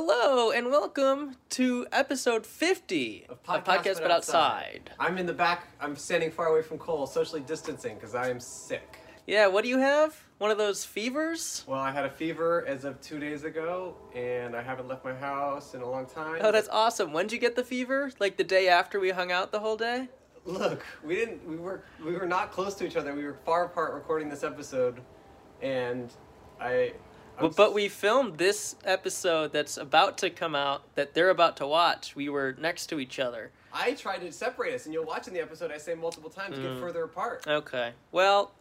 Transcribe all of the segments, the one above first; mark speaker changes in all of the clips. Speaker 1: Hello and welcome to episode 50 of Podcast, But, outside.
Speaker 2: I'm in the back. I'm standing far away from Cole, socially distancing because I am sick.
Speaker 1: Yeah, what do you have? One of those fevers?
Speaker 2: Well, I had a fever as of two days ago, and I haven't left my house in a long time.
Speaker 1: Oh, that's awesome. When'd you get the fever? Like the day after we hung out the whole day?
Speaker 2: look. We didn't. We were. We were not close to each other. We were far apart recording this episode, and I. I'm
Speaker 1: But, but we filmed this episode that's about to come out that they're about to watch. We were next to each other.
Speaker 2: I tried to separate us, and you'll watch in the episode. I say multiple times to
Speaker 1: Mm.
Speaker 2: get further apart.
Speaker 1: Okay. Well,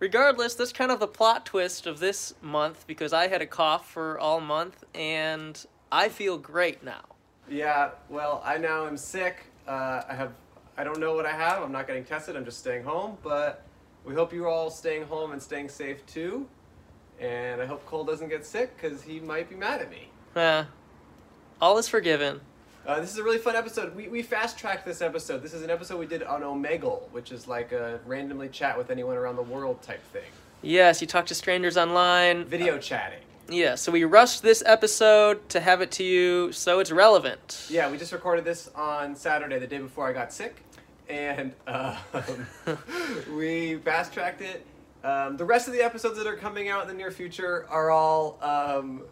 Speaker 1: regardless, that's kind of the plot twist of this month because I had a cough for all month and I feel great now.
Speaker 2: Yeah. Well, I now am sick. Uh, I have. I don't know what I have. I'm not getting tested. I'm just staying home. But we hope you're all staying home and staying safe too. And I hope Cole doesn't get sick because he might be mad at me.
Speaker 1: Eh, all is forgiven.
Speaker 2: Uh, this is a really fun episode. We, we fast tracked this episode. This is an episode we did on Omegle, which is like a randomly chat with anyone around the world type thing.
Speaker 1: Yes, you talk to strangers online.
Speaker 2: Video chatting.
Speaker 1: Yeah, so we rushed this episode to have it to you so it's relevant.
Speaker 2: Yeah, we just recorded this on Saturday, the day before I got sick, and um, we fast tracked it. Um, the rest of the episodes that are coming out in the near future are all um,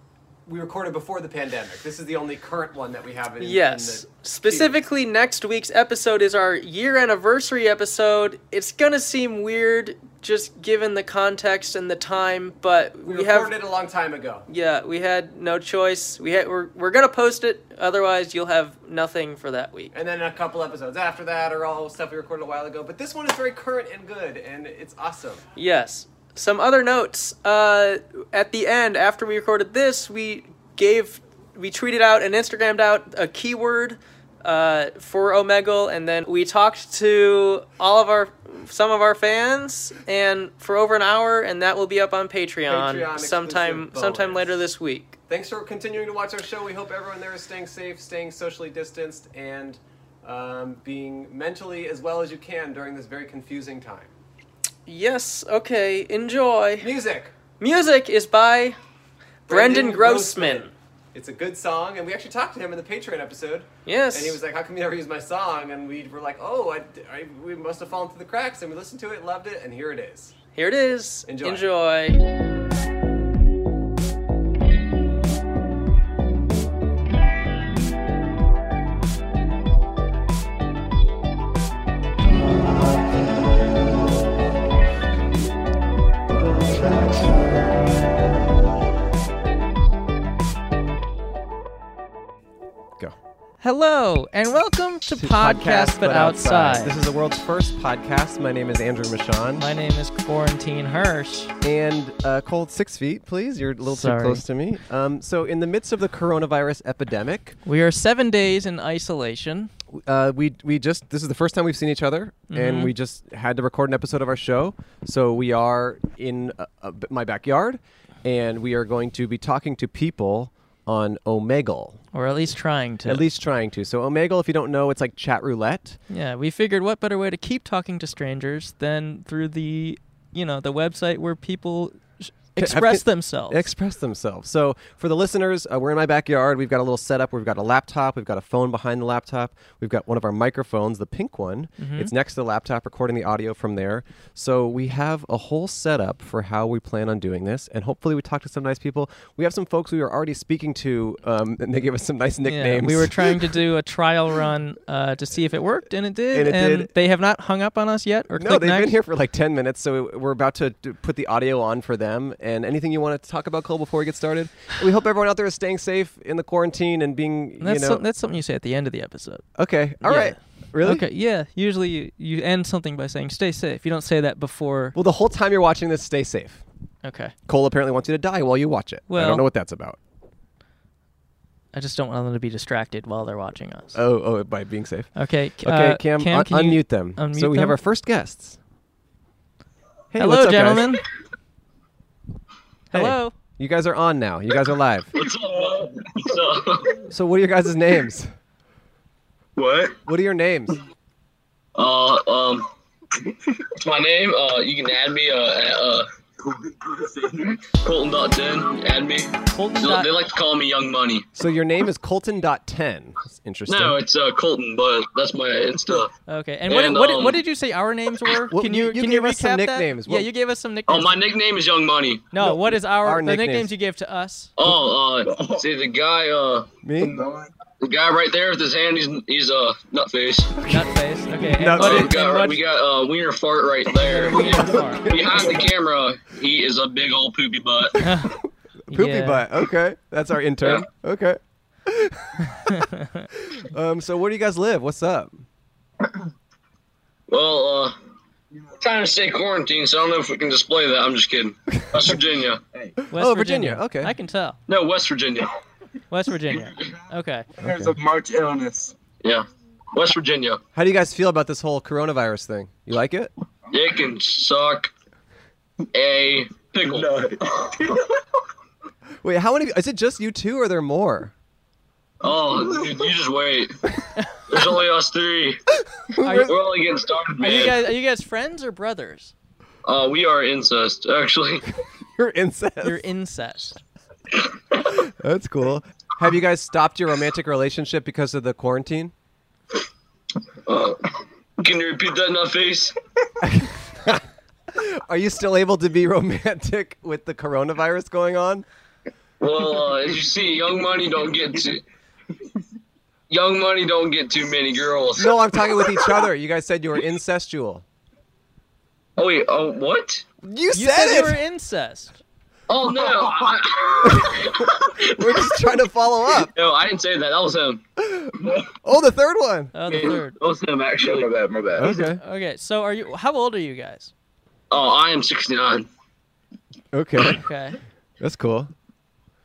Speaker 2: we recorded before the pandemic. This is the only current one that we have. In, in
Speaker 1: Yes.
Speaker 2: the
Speaker 1: Specifically, next week's episode is our year anniversary episode. It's going to seem weird just given the context and the time, but
Speaker 2: feed.
Speaker 1: we,
Speaker 2: we
Speaker 1: have.
Speaker 2: recorded it a long time ago.
Speaker 1: Yeah, we had no choice. We had, we're, we're going to post it, otherwise, you'll have nothing for that week.
Speaker 2: And then a couple episodes after that are all stuff we recorded a while ago. But this one is very current and good, and it's awesome.
Speaker 1: Yes. Some other notes. Uh, at the end, after we recorded this, we gave, we tweeted out and Instagrammed out a keyword uh, for Omegle, and then we talked to all of our, some of our fans, and for over an hour, and that will be up on Patreon,
Speaker 2: Patreon
Speaker 1: sometime,
Speaker 2: exclusive
Speaker 1: sometime
Speaker 2: bonus.
Speaker 1: later this week.
Speaker 2: Thanks for continuing to watch our show. We hope everyone there is staying safe, staying socially distanced, and um, being mentally as well as you can during this very confusing time.
Speaker 1: Yes. Okay. Enjoy.
Speaker 2: Music.
Speaker 1: Music is by Brendan, Grossman.
Speaker 2: It's a good song, and we actually talked to him in the Patreon episode.
Speaker 1: Yes.
Speaker 2: And he was like, "How come you never use my song?" And we were like, "Oh, I, I- we must have fallen through the cracks." And we listened to it, loved it, and here it is.
Speaker 1: Here it is.
Speaker 2: Enjoy.
Speaker 1: Enjoy.
Speaker 2: Go.
Speaker 1: Hello and welcome to, podcast, but, outside.
Speaker 2: This is the world's first podcast. My name is Andrew Michon.
Speaker 1: My name is Quarantine Hirsch.
Speaker 2: And uh, cold six feet, please. You're a little
Speaker 1: Sorry.
Speaker 2: too close to me. Um, so, in the midst of the coronavirus epidemic,
Speaker 1: We are seven days in isolation.
Speaker 2: uh, we we just this is the first time we've seen each other,
Speaker 1: Mm-hmm.
Speaker 2: and we just had to record an episode of our show. So we are in uh, uh, b- my backyard, and we are going to be talking to people on Omegle,
Speaker 1: Or at least trying to.
Speaker 2: at least trying to. So Omegle, if you don't know, it's like chat roulette.
Speaker 1: Yeah, we figured what better way to keep talking to strangers than through the, you know, the website where people sh- express
Speaker 2: con-
Speaker 1: themselves.
Speaker 2: express themselves. So for the listeners, uh, we're in my backyard. We've got a little setup. We've got a laptop. We've got a phone behind the laptop. We've got one of our microphones, the pink one.
Speaker 1: Mm-hmm.
Speaker 2: It's next to the laptop, recording the audio from there. So we have a whole setup for how we plan on doing this, and hopefully we talk to some nice people. We have some folks we were already speaking to, um, and they gave us some nice
Speaker 1: yeah,
Speaker 2: nicknames.
Speaker 1: we were trying to do a trial run uh, to see if it worked, and it did.
Speaker 2: And it did.
Speaker 1: they have not hung up on us yet. Or
Speaker 2: no,
Speaker 1: clicked
Speaker 2: they've
Speaker 1: next.
Speaker 2: been here for like 10 minutes, so we're about to d- put the audio on for them. And anything you want to talk about, Cole, before we get started? We hope everyone out there is staying safe in the quarantine and being,
Speaker 1: That's,
Speaker 2: you know.
Speaker 1: some- that's something you say at the end of the episode.
Speaker 2: Okay. All
Speaker 1: Yeah.
Speaker 2: right. Really?
Speaker 1: Okay, yeah. Usually you, you end something by saying "stay safe." You don't say that before.
Speaker 2: Well, the whole time you're watching this, stay safe.
Speaker 1: Okay,
Speaker 2: Cole apparently wants you to die while you watch it. I
Speaker 1: Well-
Speaker 2: don't know what that's about.
Speaker 1: I just don't want them to be distracted while they're watching us.
Speaker 2: Oh, oh, by being safe.
Speaker 1: Okay, c-
Speaker 2: Okay,
Speaker 1: uh,
Speaker 2: Cam, un-
Speaker 1: can you
Speaker 2: unmute them.
Speaker 1: unmute
Speaker 2: so we have
Speaker 1: them?
Speaker 2: our first guests. Hey,
Speaker 1: Hello,
Speaker 2: what's up, guys?
Speaker 1: gentlemen.
Speaker 2: Hey,
Speaker 1: Hello.
Speaker 2: You guys are on now. You guys are live.
Speaker 3: What's up? What's up?
Speaker 2: so, what are your guys' names?
Speaker 3: What?
Speaker 2: What are your names?
Speaker 3: Uh, um, what's my name? Uh, you can add me, uh, at, uh, Colton.10, add me.
Speaker 1: Colton
Speaker 3: So
Speaker 1: dot-
Speaker 3: they like to call me Young Money.
Speaker 2: So your name is Colton.10. That's interesting.
Speaker 3: No, it's uh, Colton, but that's my Insta.
Speaker 1: Okay, and, what,
Speaker 3: And,
Speaker 1: what,
Speaker 3: um,
Speaker 1: what did you say our names were?
Speaker 2: Well,
Speaker 1: can
Speaker 2: you-
Speaker 1: you,
Speaker 2: you
Speaker 1: can you
Speaker 2: gave
Speaker 1: recap
Speaker 2: us some
Speaker 1: that?
Speaker 2: nicknames.
Speaker 1: Yeah,
Speaker 2: What-
Speaker 1: you gave us some nicknames.
Speaker 3: Oh, my nickname is Young Money.
Speaker 1: no, what is our,
Speaker 2: our
Speaker 1: the
Speaker 2: nicknames.
Speaker 1: nicknames. you gave to us?
Speaker 3: Oh, uh, see the guy, uh,
Speaker 2: Me?
Speaker 3: the guy right there with his hand, he's he's uh, nutface.
Speaker 1: Nutface. Okay, and
Speaker 2: Nut
Speaker 1: what
Speaker 3: Oh,
Speaker 1: is-
Speaker 3: we got
Speaker 1: and what-
Speaker 3: we got uh, wiener fart right there.
Speaker 1: Fart.
Speaker 3: Behind the camera, he is a big old poopy butt.
Speaker 2: Poopy
Speaker 1: Yeah.
Speaker 2: butt. Okay. That's our intern. Okay. um, so where do you guys live? What's up?
Speaker 3: Well, uh, we're trying to stay quarantined, so I don't know if we can display that. I'm just kidding. West Virginia.
Speaker 1: West
Speaker 2: Oh, Virginia, okay.
Speaker 1: I can tell.
Speaker 3: No, West Virginia.
Speaker 1: West Virginia. Okay.
Speaker 4: There's a March illness.
Speaker 3: Yeah. West Virginia.
Speaker 2: How do you guys feel about this whole coronavirus thing? You like it?
Speaker 3: It can suck a pickle.
Speaker 2: Wait, how many? Is it just you two, or are there more?
Speaker 3: Oh, dude, you just wait. There's only us three.
Speaker 1: Are you,
Speaker 3: We're only getting started,
Speaker 1: are you
Speaker 3: man.
Speaker 1: guys are you guys friends or brothers?
Speaker 3: Uh, we are incest, actually.
Speaker 2: You're incest.
Speaker 1: You're incest.
Speaker 2: That's cool. Have you guys stopped your romantic relationship because of the quarantine?
Speaker 3: Can you repeat that in that face?
Speaker 2: Are you still able to be romantic with the coronavirus going on?
Speaker 3: Well, uh, as you see, Young Money don't get too. Young Money don't get too many girls.
Speaker 2: No, I'm talking with each other. You guys said you were incestual.
Speaker 3: Oh wait, oh what?
Speaker 2: You,
Speaker 1: You
Speaker 2: said,
Speaker 1: said you were
Speaker 2: it.
Speaker 1: incest.
Speaker 3: Oh no! I,
Speaker 2: We are just trying to follow up.
Speaker 3: no, I didn't say that. That was him.
Speaker 2: Oh, the third one.
Speaker 1: Oh, the
Speaker 3: That
Speaker 1: third.
Speaker 3: was him actually.
Speaker 4: My bad, Uh, my bad.
Speaker 2: Okay.
Speaker 1: Okay, so are you? How old are you guys?
Speaker 3: Oh, I am 69.
Speaker 2: Okay.
Speaker 1: Okay.
Speaker 2: That's cool.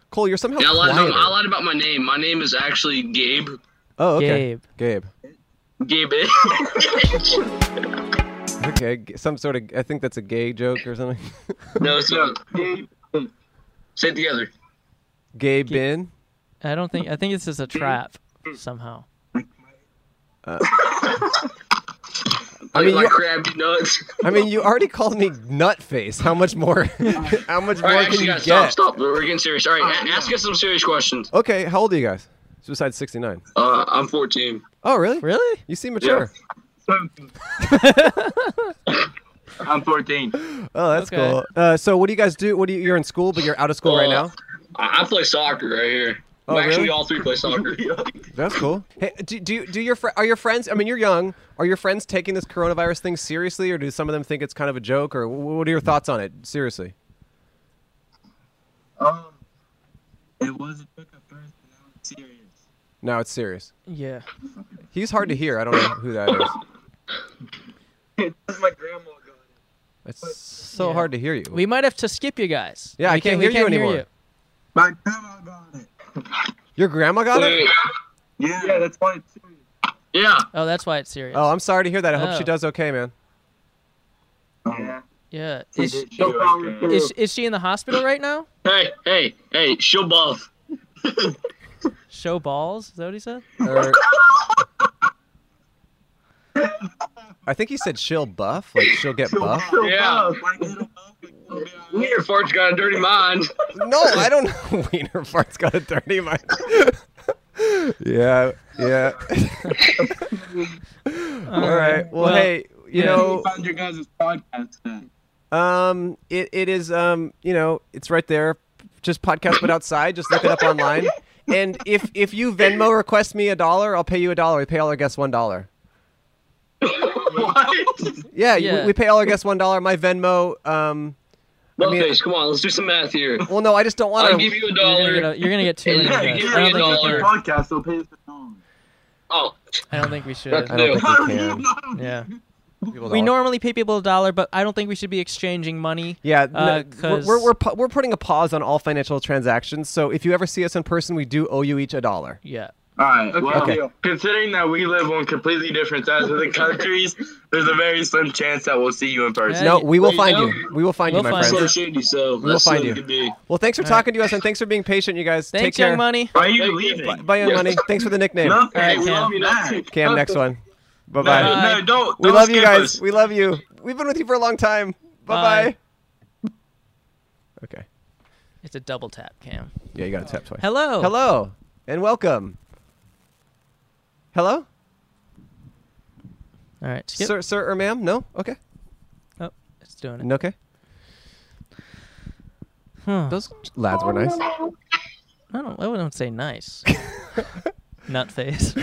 Speaker 2: Cole, you're somehow
Speaker 3: Yeah, I lied, no, I
Speaker 2: quieter.
Speaker 3: lied about my name. My name is actually Gabe.
Speaker 2: Oh, okay.
Speaker 1: Gabe.
Speaker 2: Gabe.
Speaker 3: Gabe.
Speaker 2: Okay. g- Some sort of. I think that's a gay joke or something.
Speaker 3: no, it's not. Say it together.
Speaker 2: Gabe bin.
Speaker 1: I don't think I think this is a trap somehow.
Speaker 2: Uh,
Speaker 3: I
Speaker 2: mean,
Speaker 3: mean, like
Speaker 2: you-
Speaker 3: crabby nuts.
Speaker 2: I mean, you already called me nutface. How much more? how much
Speaker 3: All
Speaker 2: more
Speaker 3: right,
Speaker 2: can
Speaker 3: actually,
Speaker 2: you
Speaker 3: guys,
Speaker 2: get?
Speaker 3: stop, stop. We're getting serious. All right,
Speaker 4: Oh,
Speaker 3: a- ask us some serious questions.
Speaker 2: Okay. How old are you guys? Besides 69.
Speaker 3: Uh, I'm 14.
Speaker 2: Oh, really?
Speaker 1: Really?
Speaker 2: You seem mature.
Speaker 4: I'm 14.
Speaker 2: Oh, that's
Speaker 1: Okay.
Speaker 2: cool. Uh, so, what do you guys do? What do you? You're in school, but you're out of school right
Speaker 3: Uh,
Speaker 2: now.
Speaker 3: I, I play soccer right here.
Speaker 2: Oh,
Speaker 3: actually,
Speaker 2: really?
Speaker 3: all three play soccer.
Speaker 2: That's cool. Hey, do do, do your fr- are your friends? I mean, you're young. Are your friends taking this coronavirus thing seriously, or do some of them think it's kind of a joke? Or wh- what are your thoughts on it? Seriously.
Speaker 4: Um, it was a joke at first, but now it's serious.
Speaker 2: No, it's serious.
Speaker 1: Yeah.
Speaker 2: He's hard to hear. I don't know who that is.
Speaker 4: It's my grandma going.
Speaker 2: It's so
Speaker 1: Yeah.
Speaker 2: hard to hear you.
Speaker 1: We might have to skip you guys.
Speaker 2: Yeah, I
Speaker 1: We
Speaker 2: can't
Speaker 1: we
Speaker 2: hear you anymore.
Speaker 4: My grandma got it.
Speaker 2: your grandma got
Speaker 3: Wait,
Speaker 2: it.
Speaker 4: Yeah, that's why it's serious.
Speaker 3: yeah.
Speaker 1: Oh, that's why it's serious.
Speaker 2: Oh, I'm sorry to hear that. I hope
Speaker 1: Oh.
Speaker 2: she does okay, man.
Speaker 4: Yeah.
Speaker 1: Yeah. Is,
Speaker 4: No problem.
Speaker 1: is is she in the hospital right now?
Speaker 3: Hey, hey, hey, show buff.
Speaker 1: Show balls? Is that what he said?
Speaker 2: Or- I think he said she'll buff. Like she'll get buff.
Speaker 3: Yeah. Your fart's got a dirty mind.
Speaker 2: No, I don't know. Wiener fart's got a dirty mind. yeah, yeah. All right. Well,
Speaker 1: uh, Well,
Speaker 2: hey, you
Speaker 1: yeah.
Speaker 2: know,
Speaker 4: found your guys' podcast at?
Speaker 2: um, it, it is, um, you know, it's right there. Just podcast, but outside. Just look it up online. And if if you Venmo request me a dollar, I'll pay you a dollar. We pay all our guests one dollar.
Speaker 3: what?
Speaker 2: Yeah, you-
Speaker 1: Yeah.
Speaker 2: We, pay all our guests one dollar. My Venmo. Um,
Speaker 3: Buffets, come on, let's do some math here.
Speaker 2: well, no, I just don't want
Speaker 3: I'll give
Speaker 2: to.
Speaker 3: you a
Speaker 1: You're gonna
Speaker 3: dollar.
Speaker 1: get, a- you're gonna get two. in
Speaker 3: Yeah,
Speaker 1: there.
Speaker 3: give
Speaker 1: I don't
Speaker 3: me a
Speaker 1: think we
Speaker 3: dollar.
Speaker 1: can.
Speaker 4: Podcast, so pay us a song.
Speaker 3: Oh,
Speaker 1: I don't think we should.
Speaker 2: I
Speaker 3: That's-
Speaker 2: don't think we
Speaker 4: How
Speaker 2: can.
Speaker 4: do you know?
Speaker 1: Yeah.
Speaker 2: People
Speaker 1: We
Speaker 2: don't-
Speaker 1: normally pay people a dollar, but I don't think we should be exchanging money.
Speaker 2: Yeah,
Speaker 1: Uh,
Speaker 2: no, we're,
Speaker 1: 'cause-
Speaker 2: we're, we're, pu- we're putting a pause on all financial transactions. So if you ever see us in person, we do owe you each a dollar.
Speaker 1: Yeah.
Speaker 4: All right. Well,
Speaker 2: Okay.
Speaker 4: considering that we live on completely different sides of the countries, there's a very slim chance that we'll see you in person.
Speaker 1: Hey,
Speaker 2: No, we will
Speaker 3: well, you
Speaker 2: find you. We will find
Speaker 1: We'll
Speaker 2: you, my
Speaker 1: find
Speaker 2: friend.
Speaker 3: so shady, so
Speaker 2: We'll
Speaker 3: that's
Speaker 2: find
Speaker 3: what it
Speaker 2: you.
Speaker 3: could be.
Speaker 2: Well, thanks for
Speaker 1: All right.
Speaker 2: talking to us and thanks for being patient, you guys.
Speaker 1: Thanks,
Speaker 2: Take care.
Speaker 1: Young Money.
Speaker 4: Why are you
Speaker 3: Thank you.
Speaker 4: leaving?
Speaker 2: Bye, Young
Speaker 3: Yes.
Speaker 2: Money. Thanks for the nickname.
Speaker 4: Nothing.
Speaker 1: All right,
Speaker 4: we
Speaker 1: Cam.
Speaker 4: love you. Back.
Speaker 2: Cam, next one. Bye
Speaker 4: No,
Speaker 2: bye.
Speaker 1: Bye.
Speaker 4: no, don't.
Speaker 2: We
Speaker 4: don't
Speaker 2: love you
Speaker 4: skip
Speaker 2: guys.
Speaker 4: us.
Speaker 2: We love you. We've been with you for a long time. Bye bye.
Speaker 1: Bye.
Speaker 2: Okay.
Speaker 1: It's a double tap, Cam.
Speaker 2: Yeah, you got to tap twice.
Speaker 1: Hello.
Speaker 2: Hello and welcome. Hello,
Speaker 1: All right. Skip.
Speaker 2: sir, sir or ma'am? No. Okay.
Speaker 1: oh, it's doing it.
Speaker 2: No, okay.
Speaker 1: Huh.
Speaker 2: Those lads were nice.
Speaker 1: I don't. I wouldn't say nice. Nut face.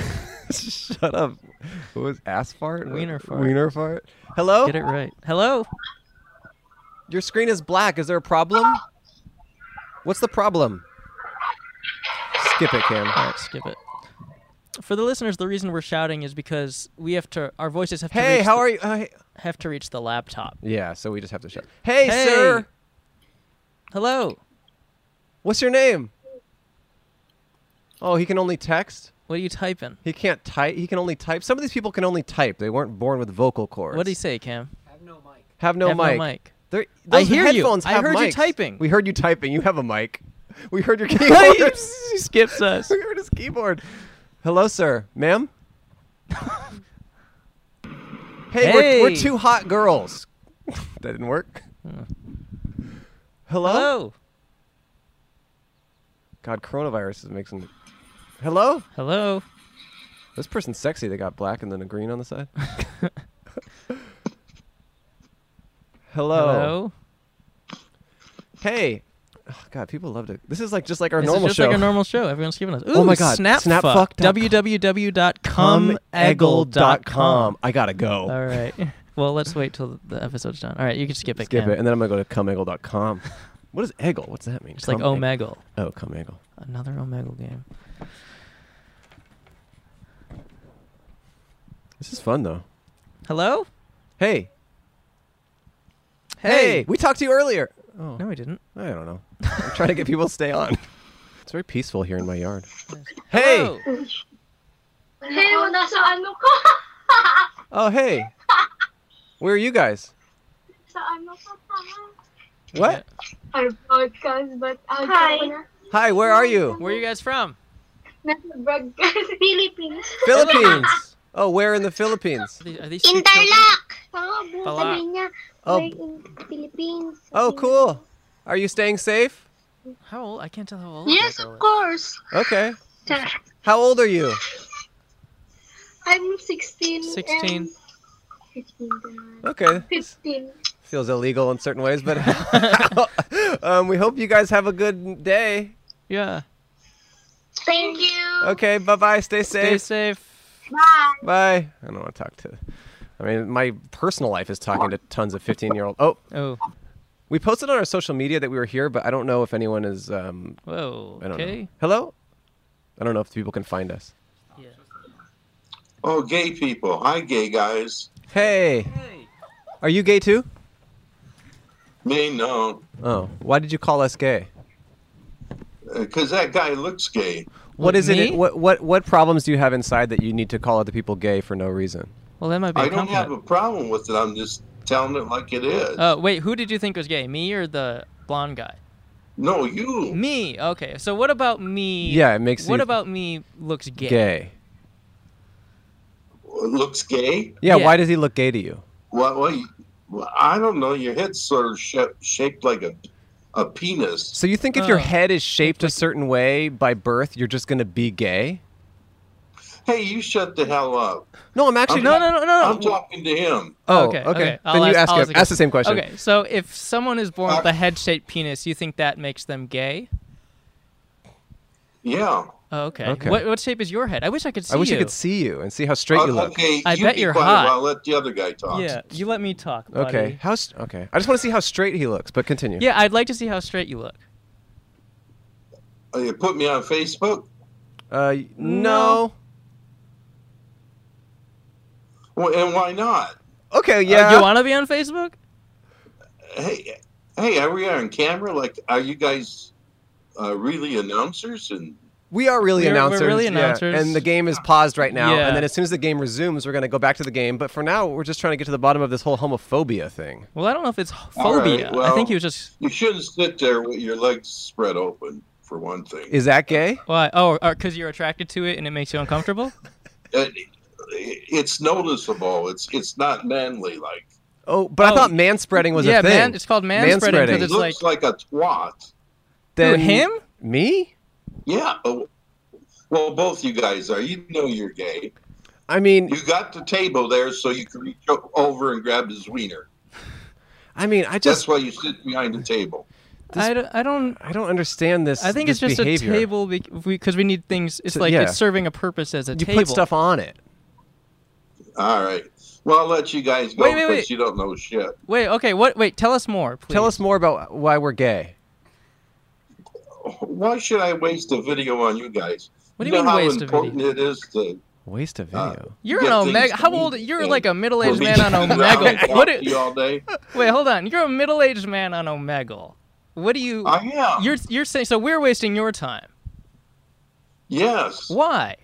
Speaker 2: Shut up. What was ass fart?
Speaker 1: Wiener fart.
Speaker 2: Wiener fart. Hello.
Speaker 1: Get it right. Hello.
Speaker 2: Your screen is black. Is there a problem? What's the problem? Skip it, Cam.
Speaker 1: All right. Skip it. For the listeners, the reason we're shouting is because we have to. Our voices have to.
Speaker 2: Hey,
Speaker 1: reach
Speaker 2: how
Speaker 1: the,
Speaker 2: are you? Uh, hey-
Speaker 1: Have to reach the laptop.
Speaker 2: yeah, so we just have to shout. Hey,
Speaker 1: Hey.
Speaker 2: sir.
Speaker 1: Hello.
Speaker 2: What's your name? Oh, he can only text.
Speaker 1: What are you typing?
Speaker 2: He can't type. He can only type. Some of these people can only type. They weren't born with vocal cords.
Speaker 1: What do you say, Cam?
Speaker 5: have no mic.
Speaker 2: Have no
Speaker 1: Have no
Speaker 2: mic.
Speaker 1: mic.
Speaker 2: They're-
Speaker 1: I
Speaker 2: those
Speaker 1: hear you.
Speaker 2: headphones
Speaker 1: I
Speaker 2: have
Speaker 1: heard you
Speaker 2: mics.
Speaker 1: typing.
Speaker 2: We heard you typing. You have a mic. We heard your
Speaker 1: he
Speaker 2: keyboard.
Speaker 1: skips us.
Speaker 2: we heard his keyboard. Hello, sir. Ma'am? hey, We're,
Speaker 1: Hey.
Speaker 2: we're two hot girls. that didn't work. Hello?
Speaker 1: Hello.
Speaker 2: God, coronavirus is making. Hello?
Speaker 1: Hello.
Speaker 2: This person's sexy. They got black and then a green on the side. Hello.
Speaker 1: Hello.
Speaker 2: Hey. Oh, God, people love to. This is like just like our
Speaker 1: This
Speaker 2: normal
Speaker 1: is just
Speaker 2: show. Oh
Speaker 1: like a normal show. Everyone's giving us. Ooh,
Speaker 2: my God.
Speaker 1: Snap
Speaker 2: Snapfuck.com.
Speaker 1: www.comeggle.com.
Speaker 2: I gotta go.
Speaker 1: All right. Well, let's wait till the episode's done. All right, you can skip it.
Speaker 2: Skip
Speaker 1: Cam.
Speaker 2: it, and then I'm gonna go to cumeggle.com. what is eggle? What's that mean?
Speaker 1: It's like
Speaker 2: Cum egg-
Speaker 1: Omegle.
Speaker 2: Oh, cumeggle.
Speaker 1: Another Omegle game.
Speaker 2: This is fun though.
Speaker 1: Hello?
Speaker 2: Hey,
Speaker 1: Hey.
Speaker 2: we talked to you earlier. Oh,
Speaker 1: No, we didn't.
Speaker 2: I don't know. I'm trying to get people to stay on. It's very peaceful here in my yard.
Speaker 1: Hello.
Speaker 6: Hey, nasa ano ka?
Speaker 2: Oh, hey. Where are you guys?
Speaker 6: Sa ano ka pa?
Speaker 2: What?
Speaker 6: Our podcast, but out Hi. ko na.
Speaker 2: Hi, where are you?
Speaker 1: Where are you guys from?
Speaker 6: Nasa broadcast. Philippines.
Speaker 2: Philippines. Oh, where in the Philippines?
Speaker 1: Are these, are these two children?
Speaker 6: Interlock! Tama, buong
Speaker 1: Pala.
Speaker 6: sabi niya.
Speaker 2: Oh.
Speaker 6: We're in Philippines.
Speaker 2: Oh, cool. Are you staying safe?
Speaker 1: How old? I can't tell how old.
Speaker 6: Yes,
Speaker 1: that
Speaker 6: of
Speaker 1: girl
Speaker 6: course.
Speaker 2: Okay. How old are you?
Speaker 6: I'm 16.
Speaker 1: is. 16.
Speaker 6: And 15.
Speaker 2: Okay.
Speaker 6: 15.
Speaker 2: Feels illegal in certain ways, but um, we hope you guys have a good day.
Speaker 1: Yeah.
Speaker 6: Thank you.
Speaker 2: Okay, bye bye. Stay
Speaker 1: Stay
Speaker 2: safe.
Speaker 1: safe.
Speaker 6: Bye.
Speaker 2: Bye. I don't want to talk to. I mean, my personal life is talking to tons of 15 year old. Oh,
Speaker 1: Oh,
Speaker 2: we posted on our social media that we were here, but I don't know if anyone is. Um,
Speaker 1: whoa.
Speaker 2: I don't know.
Speaker 1: Okay.
Speaker 2: Hello? I don't know if people can find us.
Speaker 7: Oh, gay people. Hi, gay guys.
Speaker 2: Hey. Are you gay too?
Speaker 7: Me, no.
Speaker 2: Oh, why did you call us gay?
Speaker 7: Because uh, that guy looks gay.
Speaker 2: What
Speaker 1: Like
Speaker 2: is
Speaker 1: me?
Speaker 2: it? What what what problems do you have inside that you need to call other people gay for no reason?
Speaker 1: Well, that might be
Speaker 7: I
Speaker 1: a
Speaker 7: don't have a
Speaker 1: compliment.
Speaker 7: problem with it. I'm just telling it like it is.
Speaker 1: Oh, wait. Who did you think was gay? Me or the blonde guy?
Speaker 7: no, you.
Speaker 1: Me. Okay. So what about me?
Speaker 2: Yeah, it makes
Speaker 1: What
Speaker 2: you
Speaker 1: about me looks gay?
Speaker 2: gay.
Speaker 7: Looks gay?
Speaker 2: Yeah,
Speaker 1: Yeah.
Speaker 2: Why does he look gay to you?
Speaker 7: Well, well, you- well, I don't know. Your head's sort of sha- shaped like a, a penis.
Speaker 2: So you think if your
Speaker 1: Oh.
Speaker 2: head is shaped a certain way by birth, you're just gonna be gay?
Speaker 7: Hey, you shut the hell up.
Speaker 2: No, I'm actually
Speaker 7: I'm-
Speaker 1: No, no, no, no.
Speaker 7: I'm talking to him.
Speaker 2: Oh,
Speaker 1: okay,
Speaker 2: okay.
Speaker 1: okay. I'll
Speaker 2: Then you
Speaker 1: ask-
Speaker 2: ask,
Speaker 1: I'll
Speaker 2: him- ask,
Speaker 1: ask again.
Speaker 2: the same question.
Speaker 1: Okay, so if someone is born with
Speaker 7: Uh,
Speaker 1: a head-shaped penis, you think that makes them gay?
Speaker 7: Yeah.
Speaker 1: Oh, okay.
Speaker 2: Okay.
Speaker 1: What, what shape is your head? I wish I could see
Speaker 2: I wish
Speaker 1: you.
Speaker 2: I could see you and see how straight you
Speaker 7: Oh,
Speaker 2: look.
Speaker 7: okay,
Speaker 1: I
Speaker 7: you
Speaker 1: bet
Speaker 7: be
Speaker 1: you're
Speaker 7: quiet
Speaker 1: hot.
Speaker 7: while I let the other guy talk.
Speaker 1: Yeah, you let me talk. Buddy.
Speaker 2: Okay. How? s- Okay. I just want to see how straight he looks. But continue.
Speaker 1: Yeah, I'd like to see how straight you look.
Speaker 7: Oh, You put me on Facebook?
Speaker 2: Uh, y- no.
Speaker 1: No.
Speaker 7: Well, and why not?
Speaker 2: Okay.
Speaker 1: Uh,
Speaker 2: Yeah.
Speaker 1: you want to be on Facebook?
Speaker 7: hey, hey, are we on camera? Like, are you guys uh, really announcers? And
Speaker 2: We are really
Speaker 1: We're- we're
Speaker 2: announcers.
Speaker 1: really
Speaker 2: yeah,
Speaker 1: announcers.
Speaker 2: And the game is paused right now.
Speaker 1: Yeah.
Speaker 2: And then as soon as the game resumes, we're going to go back to the game. But for now, we're just trying to get to the bottom of this whole homophobia thing.
Speaker 1: Well, I don't know if it's h-
Speaker 7: All right,
Speaker 1: phobia. I
Speaker 7: well-
Speaker 1: think he was just
Speaker 7: you shouldn't sit there with your legs spread open, for one thing.
Speaker 2: Is that gay?
Speaker 1: Uh, why? Oh, because you're attracted to it and it makes you
Speaker 7: Uh,
Speaker 1: uncomfortable.
Speaker 7: It- it's noticeable. It's it's not manly. Like,
Speaker 2: Oh, but I
Speaker 1: Oh.
Speaker 2: thought manspreading was
Speaker 1: yeah,
Speaker 2: a thing.
Speaker 1: man, it's called manspreading
Speaker 2: Manspreading.
Speaker 1: because it's like,
Speaker 7: looks like, a twat.
Speaker 1: Who,
Speaker 2: Then
Speaker 1: him.
Speaker 2: Me?
Speaker 7: Yeah. Oh, well, both you guys are. You know you're gay.
Speaker 2: I mean,
Speaker 7: You got the table there, so you can reach o- over and grab his wiener.
Speaker 2: I mean, I
Speaker 7: That's
Speaker 2: just
Speaker 7: why you sit behind the table.
Speaker 2: This-
Speaker 1: I, don't, I don't.
Speaker 2: I don't understand this.
Speaker 1: I think
Speaker 2: this
Speaker 1: it's just
Speaker 2: behavior.
Speaker 1: a table because we, 'cause we need things. It's
Speaker 2: So-
Speaker 1: like
Speaker 2: yeah.
Speaker 1: it's serving a purpose as a
Speaker 2: You
Speaker 1: table.
Speaker 2: put stuff on it.
Speaker 7: All right. Well, I'll let you guys go
Speaker 1: Wait, wait,
Speaker 7: because
Speaker 1: wait.
Speaker 7: you don't know shit.
Speaker 1: Wait, okay. What? Wait, tell us more. Please.
Speaker 2: Tell us more about why we're gay.
Speaker 7: Why should I waste a video on you guys?
Speaker 1: What do you
Speaker 7: know
Speaker 1: mean
Speaker 7: how
Speaker 1: waste a
Speaker 7: important
Speaker 1: video?
Speaker 7: it is to
Speaker 2: Waste a
Speaker 7: Uh,
Speaker 2: video.
Speaker 1: You're
Speaker 7: get
Speaker 1: an
Speaker 7: things
Speaker 1: omega.
Speaker 7: to
Speaker 1: How
Speaker 7: eat
Speaker 1: old? You're
Speaker 7: and
Speaker 1: like a middle-aged
Speaker 7: for me
Speaker 1: man
Speaker 7: to
Speaker 1: on
Speaker 7: sit around and
Speaker 1: omega.
Speaker 7: talk
Speaker 1: What?
Speaker 7: to
Speaker 1: do-
Speaker 7: you all day?
Speaker 1: Wait, hold on. You're a middle-aged man on omega. What do you?
Speaker 7: I am.
Speaker 1: You're you're saying so we're wasting your time.
Speaker 7: yes. Mm.
Speaker 1: Why?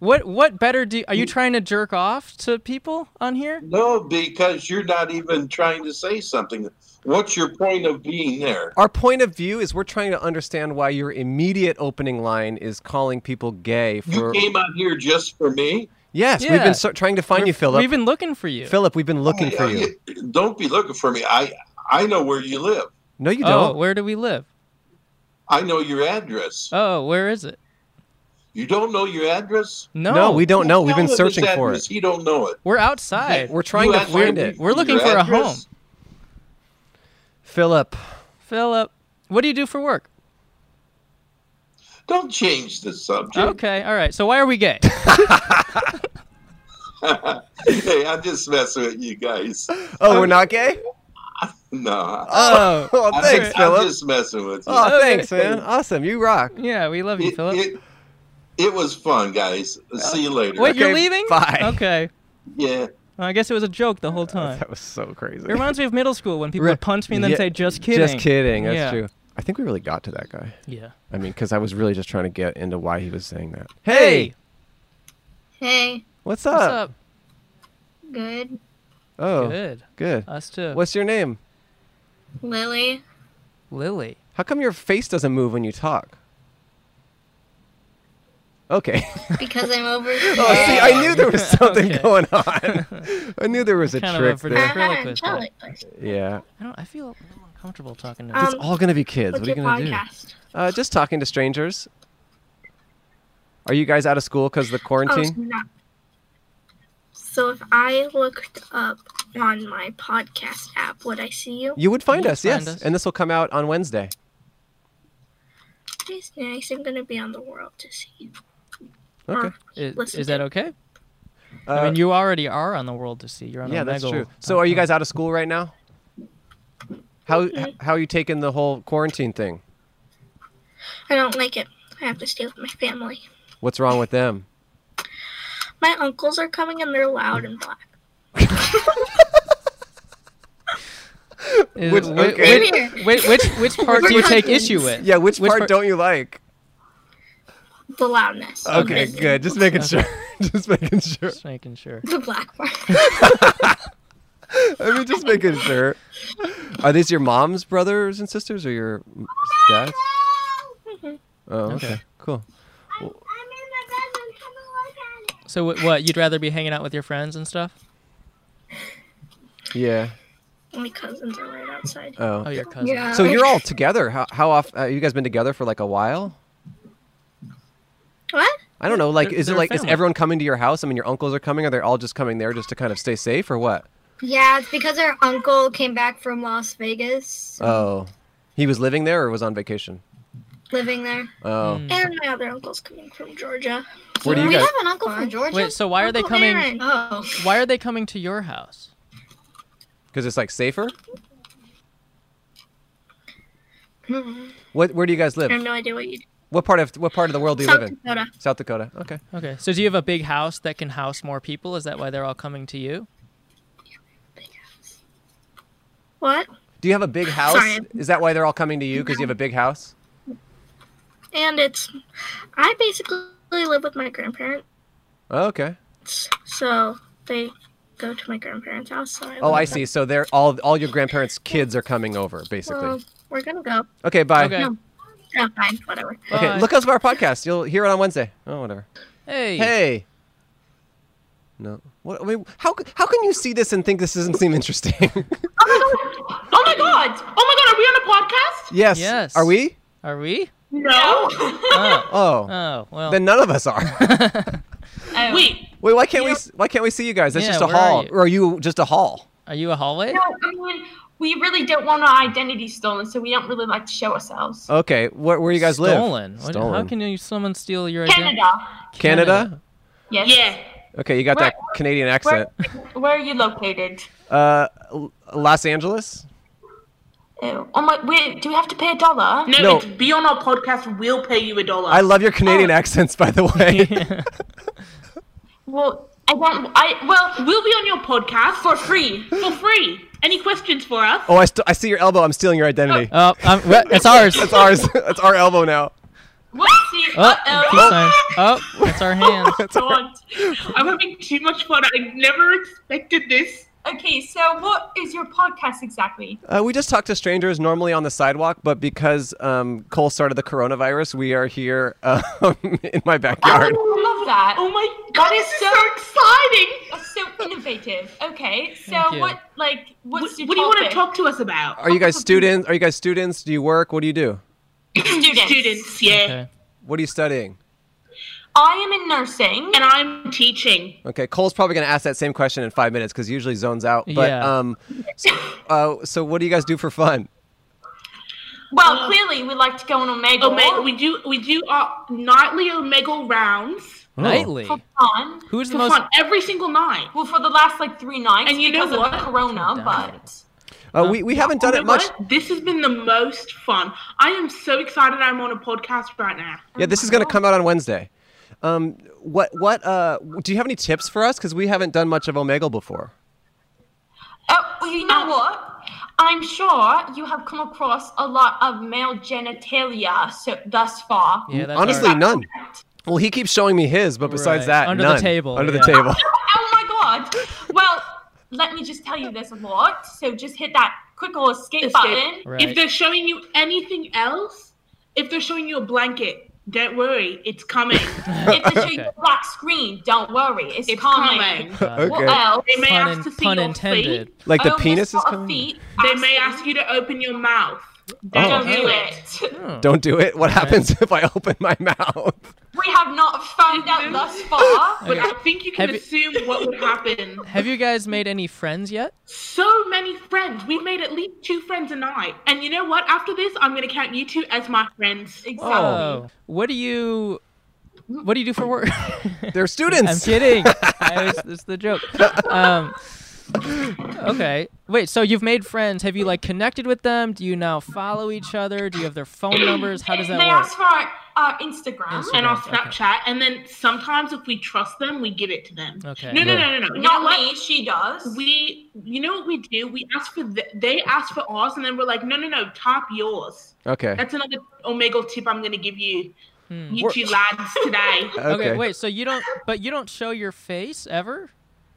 Speaker 1: What what better do? Are you trying to jerk off to people on here?
Speaker 7: No, because you're not even trying to say something. What's your point of being there?
Speaker 2: Our point of view is we're trying to understand why your immediate opening line is calling people gay
Speaker 7: You
Speaker 2: for.
Speaker 7: came out here just for me.
Speaker 2: yes, we've
Speaker 1: Yeah.
Speaker 2: been so- trying to find you, Philip.
Speaker 1: We've been looking for you.
Speaker 2: Philip,
Speaker 7: Oh,
Speaker 2: we've been looking for you.
Speaker 7: Don't be looking for me. I I know where you live.
Speaker 2: No, you
Speaker 1: oh,
Speaker 2: don't.
Speaker 1: where do we live?
Speaker 7: I know your address.
Speaker 1: Oh, where is it?
Speaker 7: You don't know your address?
Speaker 1: No,
Speaker 2: no, we don't know. We've
Speaker 7: Tell
Speaker 2: been
Speaker 7: him
Speaker 2: searching
Speaker 7: his
Speaker 2: for
Speaker 7: address.
Speaker 2: it.
Speaker 7: He don't know it.
Speaker 1: We're outside.
Speaker 2: We're trying
Speaker 7: You
Speaker 2: to
Speaker 7: act
Speaker 2: find
Speaker 7: like
Speaker 2: it.
Speaker 1: We're looking
Speaker 7: Your
Speaker 1: for a home.
Speaker 7: address?
Speaker 2: Philip,
Speaker 1: Philip, what do you do for work?
Speaker 7: Don't change the subject.
Speaker 1: Okay, all right. So why are we gay?
Speaker 7: hey, I'm just messing with you guys.
Speaker 2: oh, we're not gay.
Speaker 7: No.
Speaker 2: Oh, oh,
Speaker 7: I'm
Speaker 2: thanks,
Speaker 7: just, I'm
Speaker 2: Philip.
Speaker 7: just messing with you.
Speaker 2: Oh,
Speaker 1: Okay.
Speaker 2: thanks, man. Awesome, you rock.
Speaker 1: yeah, we love you,
Speaker 7: it,
Speaker 1: Philip.
Speaker 7: it, it was fun, guys. See you later.
Speaker 1: Wait, you're
Speaker 2: Okay,
Speaker 1: leaving?
Speaker 2: bye.
Speaker 1: Okay.
Speaker 7: Yeah.
Speaker 1: Well, I guess it was a joke the whole time.
Speaker 2: That was so crazy.
Speaker 1: It reminds me of middle school when people
Speaker 2: Re-
Speaker 1: would punch me and then
Speaker 2: Yeah,
Speaker 1: say, "Just kidding."
Speaker 2: Just kidding. That's
Speaker 1: Yeah.
Speaker 2: true. I think we really got to that guy.
Speaker 1: Yeah.
Speaker 2: I mean, because I was really just trying to get into why he was saying that.
Speaker 1: Hey,
Speaker 6: Hey,
Speaker 2: what's
Speaker 1: what's
Speaker 2: up?
Speaker 1: up?
Speaker 6: good.
Speaker 2: Oh, good.
Speaker 1: Good. Us too.
Speaker 2: What's your name?
Speaker 6: Lily,
Speaker 1: Lily?
Speaker 2: How come your face doesn't move when you talk? Okay.
Speaker 6: because I'm over
Speaker 2: oh, see, I knew there was something
Speaker 1: Okay.
Speaker 2: going on. I knew there was a
Speaker 1: Kind of
Speaker 2: trick
Speaker 1: a
Speaker 2: there.
Speaker 1: pretty- Ventriloquist, right?
Speaker 2: Yeah.
Speaker 1: I don't. I feel a little uncomfortable talking to.
Speaker 6: Um,
Speaker 2: it's all going to be kids. What
Speaker 6: What's
Speaker 2: are you
Speaker 6: your
Speaker 2: going to do?
Speaker 6: podcast?
Speaker 2: Uh, just talking to strangers. Are you guys out of school because of the
Speaker 6: Oh,
Speaker 2: quarantine?
Speaker 6: snap. So if I looked up on my podcast app, would I see you?
Speaker 2: You would find
Speaker 1: You
Speaker 2: us,
Speaker 1: find
Speaker 2: yes.
Speaker 1: us.
Speaker 2: And this will come out on Wednesday.
Speaker 6: It's nice. I'm gonna be on the world to see you. Uh-huh.
Speaker 2: Okay.
Speaker 1: Is,
Speaker 6: listen
Speaker 1: is
Speaker 6: to
Speaker 1: that okay?
Speaker 2: Uh,
Speaker 1: I mean, you already are on the world to see. You're on.
Speaker 2: yeah,
Speaker 1: Omegle.
Speaker 2: that's true. So, are you guys out of school right now? How h-
Speaker 6: Mm-hmm.
Speaker 2: how are you taking the whole quarantine thing?
Speaker 6: I don't like it. I have to stay with my family.
Speaker 2: What's wrong with them?
Speaker 6: My uncles are coming and they're loud and black.
Speaker 1: Is,
Speaker 2: Which-
Speaker 1: which,
Speaker 2: okay.
Speaker 1: which, which, which which part do you take issue with?
Speaker 2: Yeah, which,
Speaker 1: Which
Speaker 2: part
Speaker 1: part-
Speaker 2: don't you like?
Speaker 6: The loudness. of
Speaker 2: Okay,
Speaker 6: it.
Speaker 2: good. Just making sure. just making sure.
Speaker 1: Just making sure.
Speaker 6: The black part.
Speaker 2: I mean, just making sure. Are these your mom's brothers and sisters or your m- dad's? Oh, okay.
Speaker 1: Okay.
Speaker 2: Cool.
Speaker 1: So wh- what? You'd rather be hanging out with your friends and stuff?
Speaker 2: Yeah.
Speaker 6: my cousins are right outside.
Speaker 1: Oh,
Speaker 2: Oh.
Speaker 1: your cousin.
Speaker 6: Yeah.
Speaker 2: So you're all together. How how often? Uh, you guys been together for like a while?
Speaker 6: What?
Speaker 2: I don't know. Like,
Speaker 1: They're-
Speaker 2: is it
Speaker 1: they're
Speaker 2: like is
Speaker 1: family.
Speaker 2: everyone coming to your house? I mean, your uncles are coming. Are they all just coming there just to kind of stay safe or what?
Speaker 8: Yeah, it's because our uncle came back from Las Vegas,
Speaker 2: Oh, he was living there or was on vacation?
Speaker 8: living there.
Speaker 2: Oh,
Speaker 1: Mm.
Speaker 6: And my other uncle's coming from Georgia.
Speaker 2: where do you
Speaker 8: we
Speaker 2: guys?
Speaker 8: have an uncle from Georgia.
Speaker 1: Wait. So why are they
Speaker 8: Uncle
Speaker 1: coming?
Speaker 8: Aaron. Oh,
Speaker 1: Why are they coming to your house?
Speaker 2: Because it's like safer.
Speaker 6: Hmm.
Speaker 2: What? Where do you guys
Speaker 6: I have
Speaker 2: live?
Speaker 6: no idea what you do.
Speaker 2: What part of what part of the world do you
Speaker 6: South
Speaker 2: live in?
Speaker 6: Dakota.
Speaker 2: South Dakota. Oh. Okay.
Speaker 1: Okay. So do you have a big house that can house more people? Is that why they're all coming to you?
Speaker 6: What?
Speaker 2: Do you have a big house?
Speaker 6: Sorry.
Speaker 2: Is that why they're all coming to you? Because you have a big house?
Speaker 6: And it's. I basically live with my grandparents,
Speaker 2: Oh, okay.
Speaker 6: so they go to my grandparents' house. So I
Speaker 2: Oh,
Speaker 6: live
Speaker 2: I
Speaker 6: with
Speaker 2: see. So they're all all your grandparents' kids are coming over,
Speaker 6: them.
Speaker 2: basically.
Speaker 6: Well, we're gonna go.
Speaker 2: Okay. Bye.
Speaker 1: Okay.
Speaker 6: No. Yeah, fine, whatever.
Speaker 2: Okay,
Speaker 1: Bye.
Speaker 2: look up our podcast. You'll hear it on Wednesday. Oh, whatever.
Speaker 1: Hey.
Speaker 2: Hey, No. What, I mean, how c- how can you see this and think this doesn't seem interesting?
Speaker 9: Oh my god! Oh my god! Oh my god! Are we on a podcast?
Speaker 2: yes.
Speaker 1: Yes.
Speaker 2: Are we?
Speaker 1: Are we?
Speaker 9: No.
Speaker 1: Oh,
Speaker 2: Oh.
Speaker 1: oh well.
Speaker 2: then none of us are.
Speaker 9: Wait.
Speaker 2: Wait, why can't we? s- Why can't we see you guys? That's
Speaker 1: Yeah,
Speaker 2: just a
Speaker 1: where are
Speaker 2: hall,
Speaker 1: you?
Speaker 2: or are you just a hall?
Speaker 1: Are you a hallway?
Speaker 9: No. I mean, we really don't want our identity stolen, so we don't really like to show ourselves.
Speaker 2: Okay, where, where you guys
Speaker 1: Stolen.
Speaker 2: live?
Speaker 1: What- How can you someone steal your identity?
Speaker 9: Canada.
Speaker 2: Canada?
Speaker 9: Yes.
Speaker 8: Yeah.
Speaker 2: Okay, you got
Speaker 9: Where-
Speaker 2: that Canadian
Speaker 9: Where,
Speaker 2: accent.
Speaker 9: where are you located?
Speaker 2: Uh, L- Los Angeles.
Speaker 9: Oh, oh my! Wait, do we have to pay a dollar?
Speaker 2: No.
Speaker 9: it's-
Speaker 2: it's
Speaker 9: be on our podcast.
Speaker 10: We'll pay you a dollar.
Speaker 2: I love your Canadian accents, by the way.
Speaker 9: Well, I don't. I well.
Speaker 10: We'll be on your podcast for free. For free. Any questions for us?
Speaker 2: oh, I, st- I see your elbow. I'm stealing your identity.
Speaker 1: Oh, um, well, it's ours.
Speaker 2: That's ours. That's our elbow now.
Speaker 9: What? See,
Speaker 1: Oh, peace
Speaker 9: uh-oh.
Speaker 1: sign. Oh, that's our hand.
Speaker 10: God. I'm having too much fun. I never expected this.
Speaker 9: Okay. So, what is your podcast exactly?
Speaker 2: Uh, we just talk to strangers normally on the sidewalk, but because um, Cole started the coronavirus, we are here um, in my backyard.
Speaker 9: I love that.
Speaker 10: Oh my
Speaker 9: That
Speaker 10: god,
Speaker 9: is
Speaker 10: this is so,
Speaker 9: so-
Speaker 10: exciting.
Speaker 9: That's so innovative. Okay. So,
Speaker 1: Thank you.
Speaker 9: what like
Speaker 10: What,
Speaker 9: what's your
Speaker 10: what do you want to
Speaker 9: topic?
Speaker 10: talk to us about?
Speaker 2: Are you guys students? Are you guys students? Do you work? What do you do?
Speaker 9: Students.
Speaker 10: Students, yeah.
Speaker 1: Okay.
Speaker 2: What are you studying?
Speaker 9: I am in nursing.
Speaker 10: And I'm teaching.
Speaker 2: Okay, Cole's probably going to ask that same question in five minutes because usually zones out. But
Speaker 1: Yeah.
Speaker 2: um, so, uh, so what do you guys do for fun?
Speaker 9: Well, clearly we like to go on Omega.
Speaker 10: Um, Omega, we do we do our nightly Omega rounds.
Speaker 1: Nightly.
Speaker 9: for fun.
Speaker 1: Oh. Who's the
Speaker 10: For
Speaker 1: most?
Speaker 10: fun, every single night.
Speaker 9: Well, for the last like three nights
Speaker 10: And you know
Speaker 9: because of
Speaker 10: what?
Speaker 9: the Corona, but
Speaker 2: Uh, we we haven't done
Speaker 10: You
Speaker 2: it
Speaker 10: know
Speaker 2: much.
Speaker 10: what? This has been the most fun. I am so excited I'm on a podcast right now.
Speaker 2: Yeah, this is going to come out on Wednesday. Um, what what uh, do you have any tips for us? Because we haven't done much of Omegle before.
Speaker 9: oh, well, you know what? I'm sure you have come across a lot of male genitalia so thus far.
Speaker 1: Yeah, that's
Speaker 2: Honestly,
Speaker 1: ours.
Speaker 2: none. Well, he keeps showing me his, but besides
Speaker 1: Right.
Speaker 2: that,
Speaker 1: Under the
Speaker 2: none.
Speaker 1: table,
Speaker 2: Under the
Speaker 1: yeah.
Speaker 2: table.
Speaker 9: Oh my god! Well, let me just tell you, there's a lot. So just hit that quick little escape,
Speaker 10: Escape.
Speaker 9: button.
Speaker 1: Right.
Speaker 10: If they're showing you anything else, if they're showing you a blanket, don't worry, it's coming.
Speaker 9: If they show you
Speaker 1: Okay.
Speaker 9: a black screen, don't worry, it's,
Speaker 10: it's coming.
Speaker 9: coming.
Speaker 1: Uh,
Speaker 9: What
Speaker 2: Okay.
Speaker 9: else?
Speaker 10: They may
Speaker 1: Pun,
Speaker 10: ask
Speaker 1: in-
Speaker 10: to see
Speaker 1: pun
Speaker 10: your
Speaker 1: intended.
Speaker 10: feet.
Speaker 2: Like
Speaker 9: I
Speaker 2: the
Speaker 9: almost
Speaker 2: penis is
Speaker 9: saw a
Speaker 2: coming.
Speaker 9: feet
Speaker 10: They may
Speaker 9: asking-
Speaker 10: ask you to open your mouth.
Speaker 2: Oh.
Speaker 10: Don't
Speaker 9: Don't
Speaker 10: do
Speaker 9: do
Speaker 10: it.
Speaker 9: it.
Speaker 1: Hmm.
Speaker 2: Don't do it. What happens if I open my mouth?
Speaker 9: We have not found out thus far.
Speaker 10: But I think you can
Speaker 1: Have you-
Speaker 10: assume what would happen.
Speaker 1: Have you guys made any friends yet?
Speaker 10: So many friends. We've made at least two friends a night. And you know what? After this, I'm going to count you two as my friends.
Speaker 9: Exactly.
Speaker 1: Oh. What do you? What do you do for work?
Speaker 2: They're
Speaker 1: I'm
Speaker 2: students.
Speaker 1: kidding. I was, that's the joke. Um, okay. Wait. So you've made friends. Have you like connected with them? Do you now follow each other? Do you have their phone numbers? How does that
Speaker 9: they
Speaker 1: work?
Speaker 9: asked for our, our Instagram.
Speaker 1: Instagram.
Speaker 10: And our
Speaker 1: Okay.
Speaker 10: Snapchat, and then sometimes if we trust them, we give it to them.
Speaker 1: Okay.
Speaker 10: No, no, no,
Speaker 2: Yeah.
Speaker 10: no, no. You know
Speaker 9: Not
Speaker 10: what?
Speaker 9: me, she does.
Speaker 10: We, you know what we do? We ask for th- they ask for ours, and then we're like, no, no, no, top yours.
Speaker 2: Okay.
Speaker 10: That's another Omegle tip I'm gonna give you,
Speaker 1: Hmm.
Speaker 10: you two lads today.
Speaker 1: Okay. Wait. So you don't, but you don't show your face ever